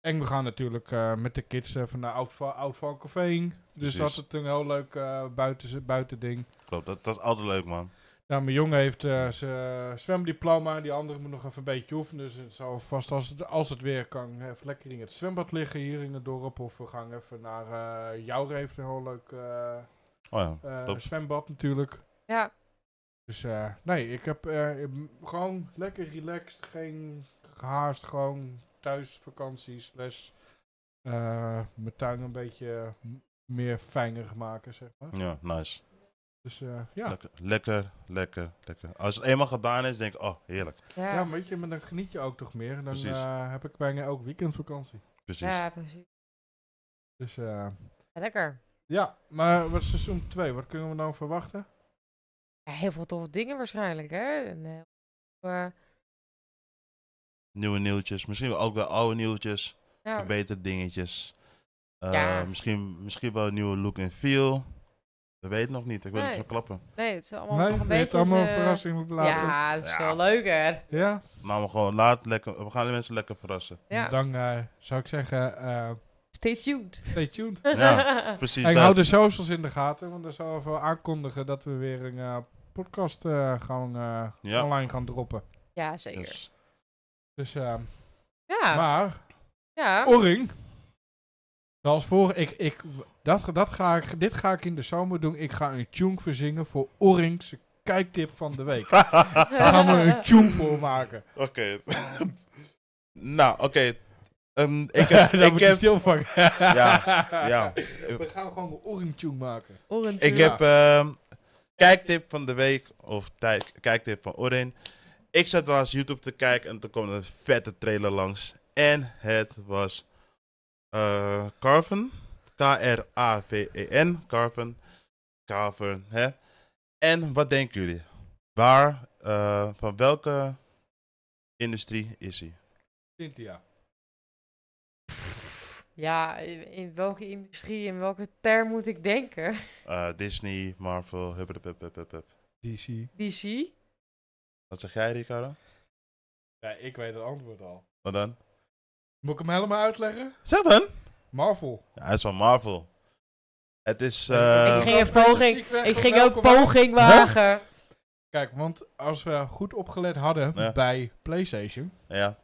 [SPEAKER 2] En we gaan natuurlijk eh, met de kids eh, van naar Oud, Va- Oud Valcafé heen. Dus
[SPEAKER 3] Precies.
[SPEAKER 2] dat is een heel leuk eh buiten, buitending.
[SPEAKER 3] Klopt, dat, dat is altijd leuk, man.
[SPEAKER 2] Ja, mijn jongen heeft eh, zijn zwemdiploma. Die andere moet nog even een beetje oefenen. Dus het zal vast, als het, als het weer kan, even lekker in het zwembad liggen hier in het dorp. Of we gaan even naar eh Jouwer heeft een heel leuk eh,
[SPEAKER 3] Oh ja.
[SPEAKER 2] eh,
[SPEAKER 3] Top.
[SPEAKER 2] zwembad natuurlijk.
[SPEAKER 1] Ja,
[SPEAKER 2] Dus eh, nee, ik heb eh, ik- gewoon lekker relaxed. Geen gehaast, gewoon thuis vakantie. Slash eh, mijn tuin een beetje m- meer fijner maken, zeg maar.
[SPEAKER 3] Ja, nice.
[SPEAKER 2] Dus eh, ja.
[SPEAKER 3] Lekker, lekker, lekker, lekker. Als het eenmaal gedaan is, denk ik, oh, heerlijk.
[SPEAKER 1] ja.
[SPEAKER 2] Ja, weet je, maar dan geniet je ook toch meer. En dan
[SPEAKER 3] Precies.
[SPEAKER 2] eh, heb ik bijna ook weekendvakantie.
[SPEAKER 3] Precies.
[SPEAKER 1] ja, precies.
[SPEAKER 2] Dus eh,
[SPEAKER 1] Ja, lekker.
[SPEAKER 2] ja, maar wat is seizoen 2? Wat kunnen we nou verwachten?
[SPEAKER 1] Ja, heel veel toffe dingen waarschijnlijk, hè? En, eh, eh,
[SPEAKER 3] Nieuwe nieuwtjes. Misschien wel ook wel oude nieuwtjes.
[SPEAKER 1] ja.
[SPEAKER 3] Beter dingetjes. Eh,
[SPEAKER 1] Ja.
[SPEAKER 3] misschien, misschien wel een nieuwe look en feel. We weten nog niet. Ik wil
[SPEAKER 1] Nee.
[SPEAKER 3] het verklappen.
[SPEAKER 1] Nee, het is allemaal nog een
[SPEAKER 2] we
[SPEAKER 1] beetje...
[SPEAKER 2] hebben allemaal een
[SPEAKER 1] eh,
[SPEAKER 2] verrassing moeten laten. Ja.
[SPEAKER 1] Ja, dat is
[SPEAKER 3] Ja.
[SPEAKER 1] veel leuker.
[SPEAKER 3] Nou, maar gewoon laat lekker. We gaan de mensen lekker verrassen.
[SPEAKER 1] Ja.
[SPEAKER 2] Dan eh, zou ik zeggen, eh,
[SPEAKER 1] Stay tuned.
[SPEAKER 2] stay tuned.
[SPEAKER 3] Ja. Precies.
[SPEAKER 2] En
[SPEAKER 3] dat.
[SPEAKER 2] hou de socials in de gaten, want dan zal even aankondigen dat we weer een eh, podcast eh, gaan, eh,
[SPEAKER 3] Ja.
[SPEAKER 2] online gaan droppen.
[SPEAKER 1] Ja, zeker.
[SPEAKER 3] Dus,
[SPEAKER 2] Dus, eh,
[SPEAKER 1] Ja,
[SPEAKER 2] maar,
[SPEAKER 1] ja.
[SPEAKER 3] Oh,
[SPEAKER 2] Oring, zoals vorige, ik, ik, dat, dat ga ik, dit ga ik in de zomer doen. Ik ga een tune verzingen voor Oring's kijktip van de week. Daar gaan we een tune voor maken.
[SPEAKER 3] Oké. nou, oké. Ehm, ik heb,
[SPEAKER 2] Daar
[SPEAKER 3] ik
[SPEAKER 2] moet je
[SPEAKER 3] heb,
[SPEAKER 2] stil van.
[SPEAKER 3] Ja, ja.
[SPEAKER 2] We gaan gewoon een orentune maken.
[SPEAKER 1] Oren
[SPEAKER 3] Ik
[SPEAKER 1] toe.
[SPEAKER 3] heb ehm, kijktip van de week, of tij- kijktip van Orin. Ik zat wel eens YouTube te kijken en toen kwam een vette trailer langs. En het was eh Carven. K-R-A-V-E-N. E Carven. Carven, hè. En wat denken jullie? Waar, eh, van welke industrie is hij?
[SPEAKER 2] Cynthia.
[SPEAKER 1] Pff, Ja, in in welke industrie, in welke term moet ik denken?
[SPEAKER 3] Eh, Disney, Marvel, hup, hup, hup, hup, hup, hup.
[SPEAKER 2] DC.
[SPEAKER 1] DC?
[SPEAKER 3] Wat zeg jij, Ricardo?
[SPEAKER 2] Ja, ik weet het antwoord al.
[SPEAKER 3] Wat dan?
[SPEAKER 2] Moet ik hem helemaal uitleggen?
[SPEAKER 3] Zeg dan!
[SPEAKER 2] Marvel.
[SPEAKER 3] Ja, hij is van Marvel. Het is...
[SPEAKER 2] Eh,
[SPEAKER 1] ik
[SPEAKER 3] eh
[SPEAKER 1] ging een
[SPEAKER 2] welke
[SPEAKER 1] poging,
[SPEAKER 2] muziek werd
[SPEAKER 1] ik
[SPEAKER 2] op
[SPEAKER 1] ging ook
[SPEAKER 2] welke wa-
[SPEAKER 1] poging wagen.
[SPEAKER 2] Kijk, want als we goed opgelet hadden
[SPEAKER 3] Ja.
[SPEAKER 2] bij PlayStation,
[SPEAKER 3] ja,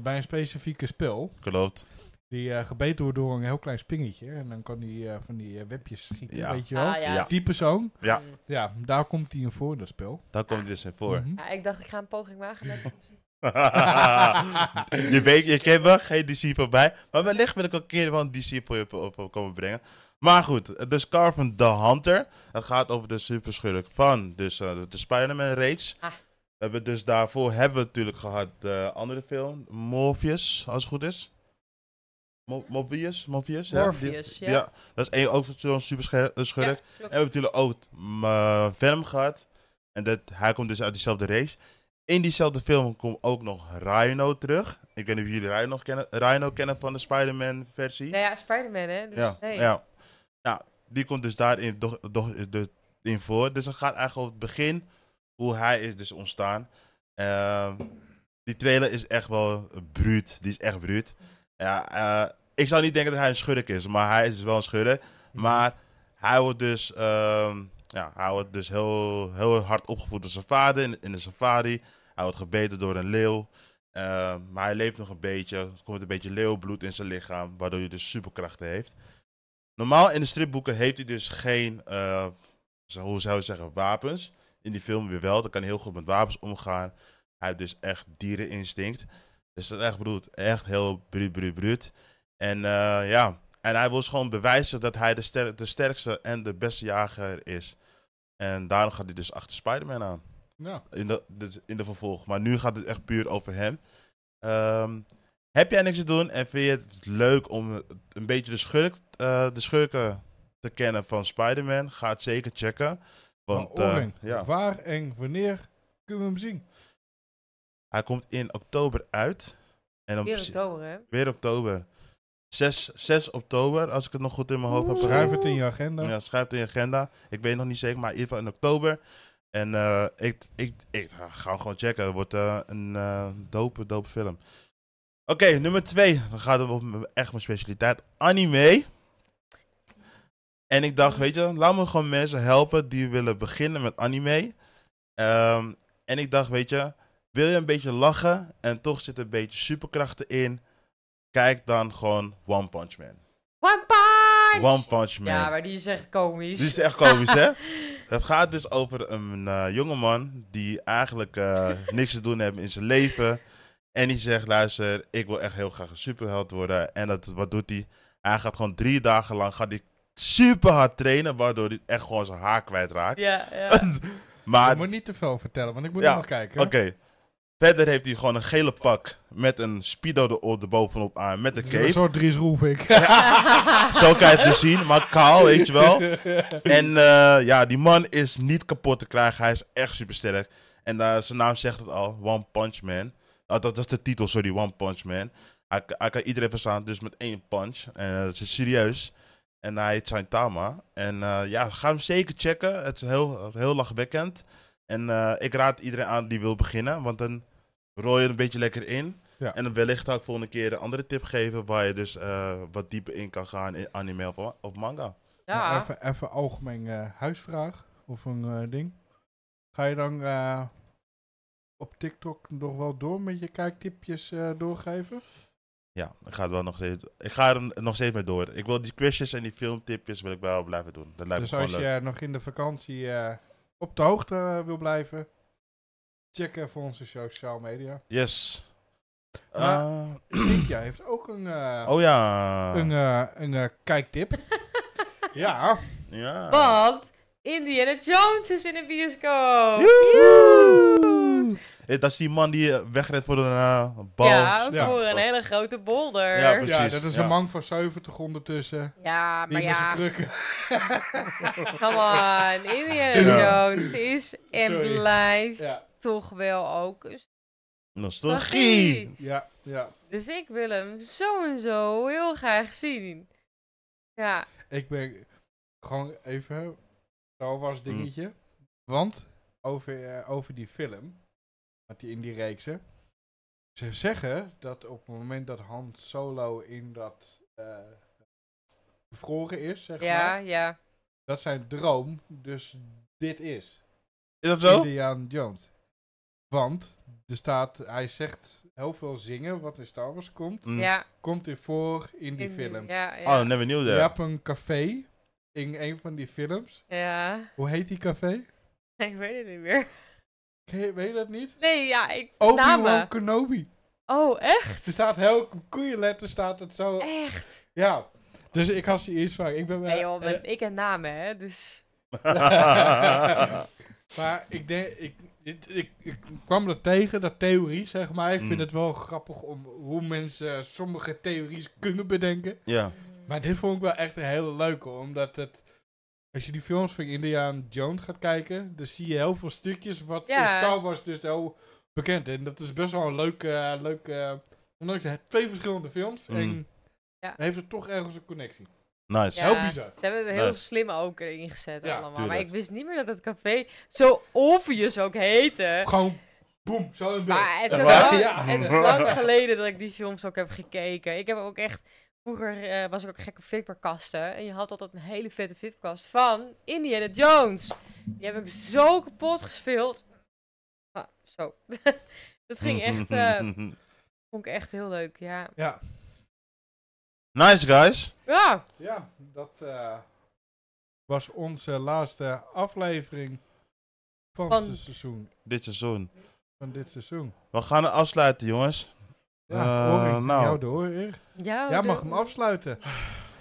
[SPEAKER 2] bij een specifieke spel,
[SPEAKER 3] klopt.
[SPEAKER 2] die eh, gebeten wordt door een heel klein spingetje, en dan kan die eh, van die eh, webjes schieten,
[SPEAKER 3] Ja.
[SPEAKER 2] weet je wel.
[SPEAKER 1] Ah, ja.
[SPEAKER 3] Ja.
[SPEAKER 2] Die persoon,
[SPEAKER 3] Ja.
[SPEAKER 1] Mm.
[SPEAKER 2] ja, daar komt hij in voor in dat spel.
[SPEAKER 3] Daar komt dus in voor.
[SPEAKER 2] Mhm.
[SPEAKER 1] Ja, ik dacht, ik ga een poging wagen. met-
[SPEAKER 3] je weet, je kent me, geen DC voorbij. Maar wellicht wil ik ook een keer wel een DC voor je voor, voor komen brengen. Maar goed, dus Carven the Hunter. Het gaat over de superschurk van dus, eh, de Spider-Man reeks.
[SPEAKER 1] Ah.
[SPEAKER 3] We hebben dus daarvoor hebben we natuurlijk gehad de andere film, Morpheus, als het goed is. Mo- Morpheus, Morpheus, ja, die-
[SPEAKER 1] Morpheus, ja.
[SPEAKER 3] dat is één, ook zo'n superschurk.
[SPEAKER 1] Ja,
[SPEAKER 3] schurk.
[SPEAKER 1] klopt.
[SPEAKER 3] En we hebben natuurlijk ook mm, eh, Venom gehad. En dat, hij komt dus uit diezelfde race. In diezelfde film komt ook nog Rhino terug. Ik weet niet of jullie Rhino kennen, Rhino kennen van de Spider-Man versie.
[SPEAKER 1] Nou ja, Spider-Man, hè? Dus
[SPEAKER 3] ja,
[SPEAKER 1] nee.
[SPEAKER 3] ja. Nou, die komt dus daarin doch, doch, de, in voor. Dus het gaat eigenlijk over het begin, hoe hij is dus ontstaan. Ehm, die trailer is echt wel bruut. Die is echt bruut. Ja, eh, ik zou niet denken dat hij een schurk is, maar hij is dus wel een schurk.
[SPEAKER 1] Mhm.
[SPEAKER 3] Maar hij wordt dus, ehm, ja, hij wordt dus heel, heel hard opgevoed door zijn vader in, in de safari. Hij wordt gebeten door een leeuw. Ehm, maar hij leeft nog een beetje. Er komt een beetje leeuwbloed in zijn lichaam, waardoor hij dus superkrachten heeft. Normaal in de stripboeken heeft hij dus geen, eh, zo- hoe zou je zeggen, wapens. In die film weer wel. Dan kan hij heel goed met wapens omgaan. Hij heeft dus echt diereninstinct. Dus dat is echt broed. Echt heel bruut, bruut, bruut. En eh, ja, en hij wil dus gewoon bewijzen dat hij de, ster- de sterkste en de beste jager is. En daarom gaat hij dus achter Spider-Man aan.
[SPEAKER 2] Ja.
[SPEAKER 3] In de, dus in de vervolg. Maar nu gaat het echt puur over hem. Ehm, heb jij niks te doen en vind je het leuk om een beetje de, schurk, eh, de schurken te kennen van Spider-Man? Ga het zeker checken. Want
[SPEAKER 2] Maar
[SPEAKER 3] eh,
[SPEAKER 2] Oren,
[SPEAKER 3] ja,
[SPEAKER 2] waar en wanneer kunnen we hem zien?
[SPEAKER 3] hij komt in oktober uit. En om
[SPEAKER 1] Weer
[SPEAKER 3] precies-
[SPEAKER 1] oktober, hè?
[SPEAKER 3] weer oktober. 6, 6 oktober, als ik het nog goed in mijn hoofd heb.
[SPEAKER 1] Oeh.
[SPEAKER 3] gehad.
[SPEAKER 2] Schrijf het in je agenda.
[SPEAKER 3] Ja, schrijf het in je agenda. Ik weet nog niet zeker, maar in ieder geval in oktober. En eh, ik, ik, ik eh, ga hem gewoon checken. Het wordt eh, een eh, dope, dope film. Oké, nummer twee. Dan gaat het over mijn- echt mijn specialiteit. Anime. En ik dacht, weet je, laat me gewoon mensen helpen die willen beginnen met anime. Ehm, en ik dacht, weet je, wil je een beetje lachen en toch zit een beetje superkrachten in? Kijk dan gewoon One Punch Man.
[SPEAKER 1] One Punch!
[SPEAKER 3] One Punch Man.
[SPEAKER 1] Ja, maar die is echt komisch.
[SPEAKER 3] Dit is echt komisch, hè? Het gaat dus over een eh, jongeman die eigenlijk eh, niks te doen heeft in zijn leven. En die zegt, luister, ik wil echt heel graag een superheld worden. En dat, wat doet hij? Hij gaat gewoon drie dagen lang gaat hij super hard trainen, waardoor hij echt gewoon zijn haar kwijtraakt.
[SPEAKER 1] Ja, ja.
[SPEAKER 3] Maar
[SPEAKER 2] Je moet niet te veel vertellen, want ik moet
[SPEAKER 3] Ja,
[SPEAKER 2] nog nog kijken.
[SPEAKER 3] Oké. Verder heeft hij gewoon een gele pak met een speedo er, er bovenop aan, met een
[SPEAKER 2] Dus Een
[SPEAKER 3] cape.
[SPEAKER 2] soort Dries Roelvink.
[SPEAKER 3] Zo kan je het dus zien, maar kaal, weet je wel. En eh, ja, die man is niet kapot te krijgen. Hij is echt supersterk. En eh, zijn naam zegt het al, One Punch Man. Ah, dat, dat is de titel, sorry, One Punch Man. Hij, k- hij kan iedereen verslaan, dus met één punch. En eh, dat is serieus. En hij heet Saitama. En eh, ja, ga hem zeker checken. Het is heel, heel lachwekkend. En eh, ik raad iedereen aan die wil beginnen, want dan rol je er een beetje lekker in.
[SPEAKER 2] Ja.
[SPEAKER 3] En dan wellicht ga ik volgende keer een andere tip geven waar je dus eh, wat dieper in kan gaan in anime of, of manga.
[SPEAKER 2] Maar
[SPEAKER 1] ja.
[SPEAKER 2] Even, even algemeen eh, huisvraag of een eh, ding. Ga je dan eh, op TikTok nog wel door met je kijktipjes eh, doorgeven?
[SPEAKER 3] Ja, ik ga, het wel nog steeds, ik ga er nog steeds mee door. Ik wil die quizjes en die filmtipjes wil ik wel blijven doen. Dat lijkt
[SPEAKER 2] dus
[SPEAKER 3] me
[SPEAKER 2] als
[SPEAKER 3] gewoon
[SPEAKER 2] je
[SPEAKER 3] leuk.
[SPEAKER 2] eh, nog in de vakantie eh, op de hoogte eh, wil blijven, check even onze sociale media.
[SPEAKER 3] Yes.
[SPEAKER 2] Maar-
[SPEAKER 3] Eh,
[SPEAKER 2] Cynthia heeft ook een, eh,
[SPEAKER 3] oh ja.
[SPEAKER 2] een, eh, een eh, kijktip. ja.
[SPEAKER 3] ja.
[SPEAKER 1] Want Indiana Jones is in de bioscoop.
[SPEAKER 3] Joehoe. Eh, Dat is die man die eh, wegredt voor een eh, bal.
[SPEAKER 1] Ja,
[SPEAKER 2] Ja.
[SPEAKER 1] voor een hele grote bolder.
[SPEAKER 3] Ja,
[SPEAKER 1] Ja,
[SPEAKER 3] precies.
[SPEAKER 2] ja, dat is
[SPEAKER 3] ja.
[SPEAKER 2] een man van 70 ondertussen. Die
[SPEAKER 1] maar
[SPEAKER 2] met zijn
[SPEAKER 1] ja,
[SPEAKER 2] krukken.
[SPEAKER 1] come on. Indiana
[SPEAKER 3] Ja.
[SPEAKER 1] Jones is en
[SPEAKER 2] Sorry.
[SPEAKER 1] blijft
[SPEAKER 2] Ja.
[SPEAKER 1] toch wel ook een
[SPEAKER 3] Nostalgie.
[SPEAKER 2] Ja, ja.
[SPEAKER 1] Dus ik wil hem zo en zo heel graag zien. Ja,
[SPEAKER 2] Ik ben gewoon even was dingetje. Want over, eh, over die film, wat die in die reeksen. Ze zeggen dat op het moment dat Han Solo in dat eh bevroren is, zeg
[SPEAKER 1] ja,
[SPEAKER 2] maar,
[SPEAKER 1] ja.
[SPEAKER 2] dat zijn droom dus dit is.
[SPEAKER 3] Is dat zo?
[SPEAKER 2] Indiana Jones. Want er staat, hij zegt heel veel zingen wat in Star Wars komt.
[SPEAKER 3] Mm.
[SPEAKER 1] ja
[SPEAKER 2] Komt hij voor in die
[SPEAKER 1] in die-
[SPEAKER 2] films.
[SPEAKER 1] Ja, ja.
[SPEAKER 3] Oh, never knew
[SPEAKER 2] Je
[SPEAKER 3] that.
[SPEAKER 2] hebt een café in een van die films.
[SPEAKER 1] ja.
[SPEAKER 2] Hoe heet die café?
[SPEAKER 1] ik weet het niet meer.
[SPEAKER 2] Ken je- Weet je dat niet?
[SPEAKER 1] Nee, ja, ik...
[SPEAKER 2] Obi-Wan
[SPEAKER 1] namen.
[SPEAKER 2] Kenobi.
[SPEAKER 1] Oh, echt?
[SPEAKER 2] Er staat heel koeienletter staat het zo.
[SPEAKER 1] Echt?
[SPEAKER 2] Ja. Dus ik had ze eerst van. Ik ben eh,
[SPEAKER 1] Eh.
[SPEAKER 2] wel.
[SPEAKER 1] Nee joh, ben- ik heb namen, hè, dus...
[SPEAKER 2] Maar ik denk, ik, ik, ik, ik kwam er tegen, dat theorie zeg maar. Ik vind
[SPEAKER 3] Mm.
[SPEAKER 2] het wel grappig om hoe mensen sommige theorieën kunnen bedenken.
[SPEAKER 3] ja.
[SPEAKER 2] Maar dit vond ik wel echt een hele leuke, omdat het... Als je die films van Indiana Jones gaat kijken, dan zie je heel veel stukjes wat in
[SPEAKER 1] Ja.
[SPEAKER 2] Star Wars dus heel bekend. En dat is best wel een leuke... eh, leuke eh, ondanks het twee verschillende films
[SPEAKER 3] Mm.
[SPEAKER 2] en
[SPEAKER 1] Ja.
[SPEAKER 2] heeft het toch ergens een connectie.
[SPEAKER 3] Nice.
[SPEAKER 1] Ja.
[SPEAKER 2] Heel bizar.
[SPEAKER 1] Ze hebben het heel
[SPEAKER 3] Nice.
[SPEAKER 1] slim ook erin gezet
[SPEAKER 2] Ja,
[SPEAKER 1] allemaal. Maar
[SPEAKER 3] tuurlijk.
[SPEAKER 1] ik wist niet meer dat het café zo obvious ook heette.
[SPEAKER 2] Gewoon, boem, zo in beeld.
[SPEAKER 1] Maar het is,
[SPEAKER 3] Ja,
[SPEAKER 1] ook
[SPEAKER 3] waar?
[SPEAKER 1] lang,
[SPEAKER 2] Ja.
[SPEAKER 1] het is lang geleden dat ik die films ook heb gekeken. Ik heb ook echt... Vroeger eh, was ik ook gek op flipperkasten. En je had altijd een hele vette flipperkast van Indiana Jones. Die heb ik zo kapot gespeeld. Ah, zo. dat ging echt... eh, vond ik echt heel leuk, ja.
[SPEAKER 2] Ja.
[SPEAKER 3] nice, guys.
[SPEAKER 1] Ja,
[SPEAKER 2] Ja, dat eh, was onze laatste aflevering van,
[SPEAKER 1] Van-
[SPEAKER 2] het seizoen.
[SPEAKER 3] Dit seizoen.
[SPEAKER 2] Van dit seizoen.
[SPEAKER 3] We gaan het afsluiten, jongens.
[SPEAKER 2] Ja,
[SPEAKER 3] Eh,
[SPEAKER 2] Ori,
[SPEAKER 3] nou.
[SPEAKER 2] jou de hoor, eer.
[SPEAKER 1] jou
[SPEAKER 2] Jij
[SPEAKER 1] Oh, de-
[SPEAKER 2] mag hem afsluiten.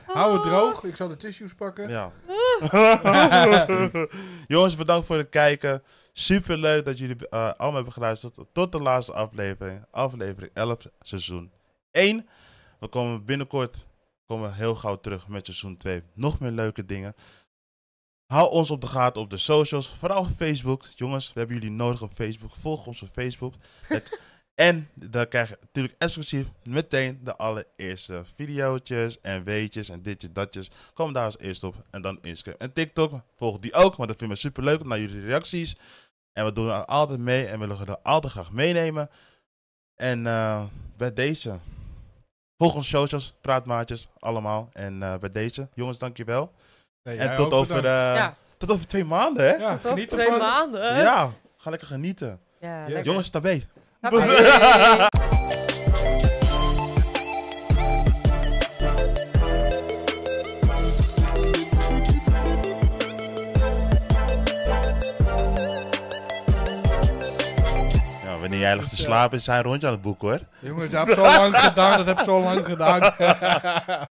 [SPEAKER 2] Hou het
[SPEAKER 1] Oh.
[SPEAKER 2] droog. Ik zal de tissues pakken.
[SPEAKER 3] Ja.
[SPEAKER 1] Ah.
[SPEAKER 3] jongens, bedankt voor het kijken. Super leuk dat jullie eh, allemaal hebben geluisterd. Tot, tot de laatste aflevering. Aflevering 11, seizoen 1. We komen binnenkort komen we heel gauw terug met seizoen 2. Nog meer leuke dingen. Hou ons op de gaten op de socials. Vooral op Facebook. Jongens, we hebben jullie nodig op Facebook. Volg ons op Facebook. Het- en dan krijg je natuurlijk exclusief meteen de allereerste videootjes en weetjes en ditjes, datjes. Kom daar als eerst op. En dan Instagram en TikTok. Volg die ook, want dat vinden we super leuk. Naar jullie reacties. En we doen er altijd mee en willen er altijd graag meenemen. En eh, bij deze. Volg ons socials, praatmaatjes, allemaal. En eh, bij deze. Jongens, dankjewel.
[SPEAKER 2] Nee,
[SPEAKER 3] en
[SPEAKER 2] jij
[SPEAKER 3] tot
[SPEAKER 2] ook
[SPEAKER 3] over,
[SPEAKER 2] bedankt.
[SPEAKER 3] eh,
[SPEAKER 1] Ja.
[SPEAKER 3] tot over twee maanden, hè?
[SPEAKER 1] Tot
[SPEAKER 2] Ja,
[SPEAKER 1] over
[SPEAKER 2] geniet
[SPEAKER 1] twee
[SPEAKER 2] ervan.
[SPEAKER 1] maanden.
[SPEAKER 3] Ja, ga lekker genieten.
[SPEAKER 1] Ja,
[SPEAKER 2] Ja.
[SPEAKER 1] lekker.
[SPEAKER 3] Jongens, tabé.
[SPEAKER 1] Tabé.
[SPEAKER 3] Ja, wanneer jij
[SPEAKER 2] dus,
[SPEAKER 3] ligt te
[SPEAKER 2] eh,
[SPEAKER 3] slapen is hij een rondje aan het boeken, hoor.
[SPEAKER 2] Jongens, dat heb zo lang gedaan. Dat heb zo lang gedaan.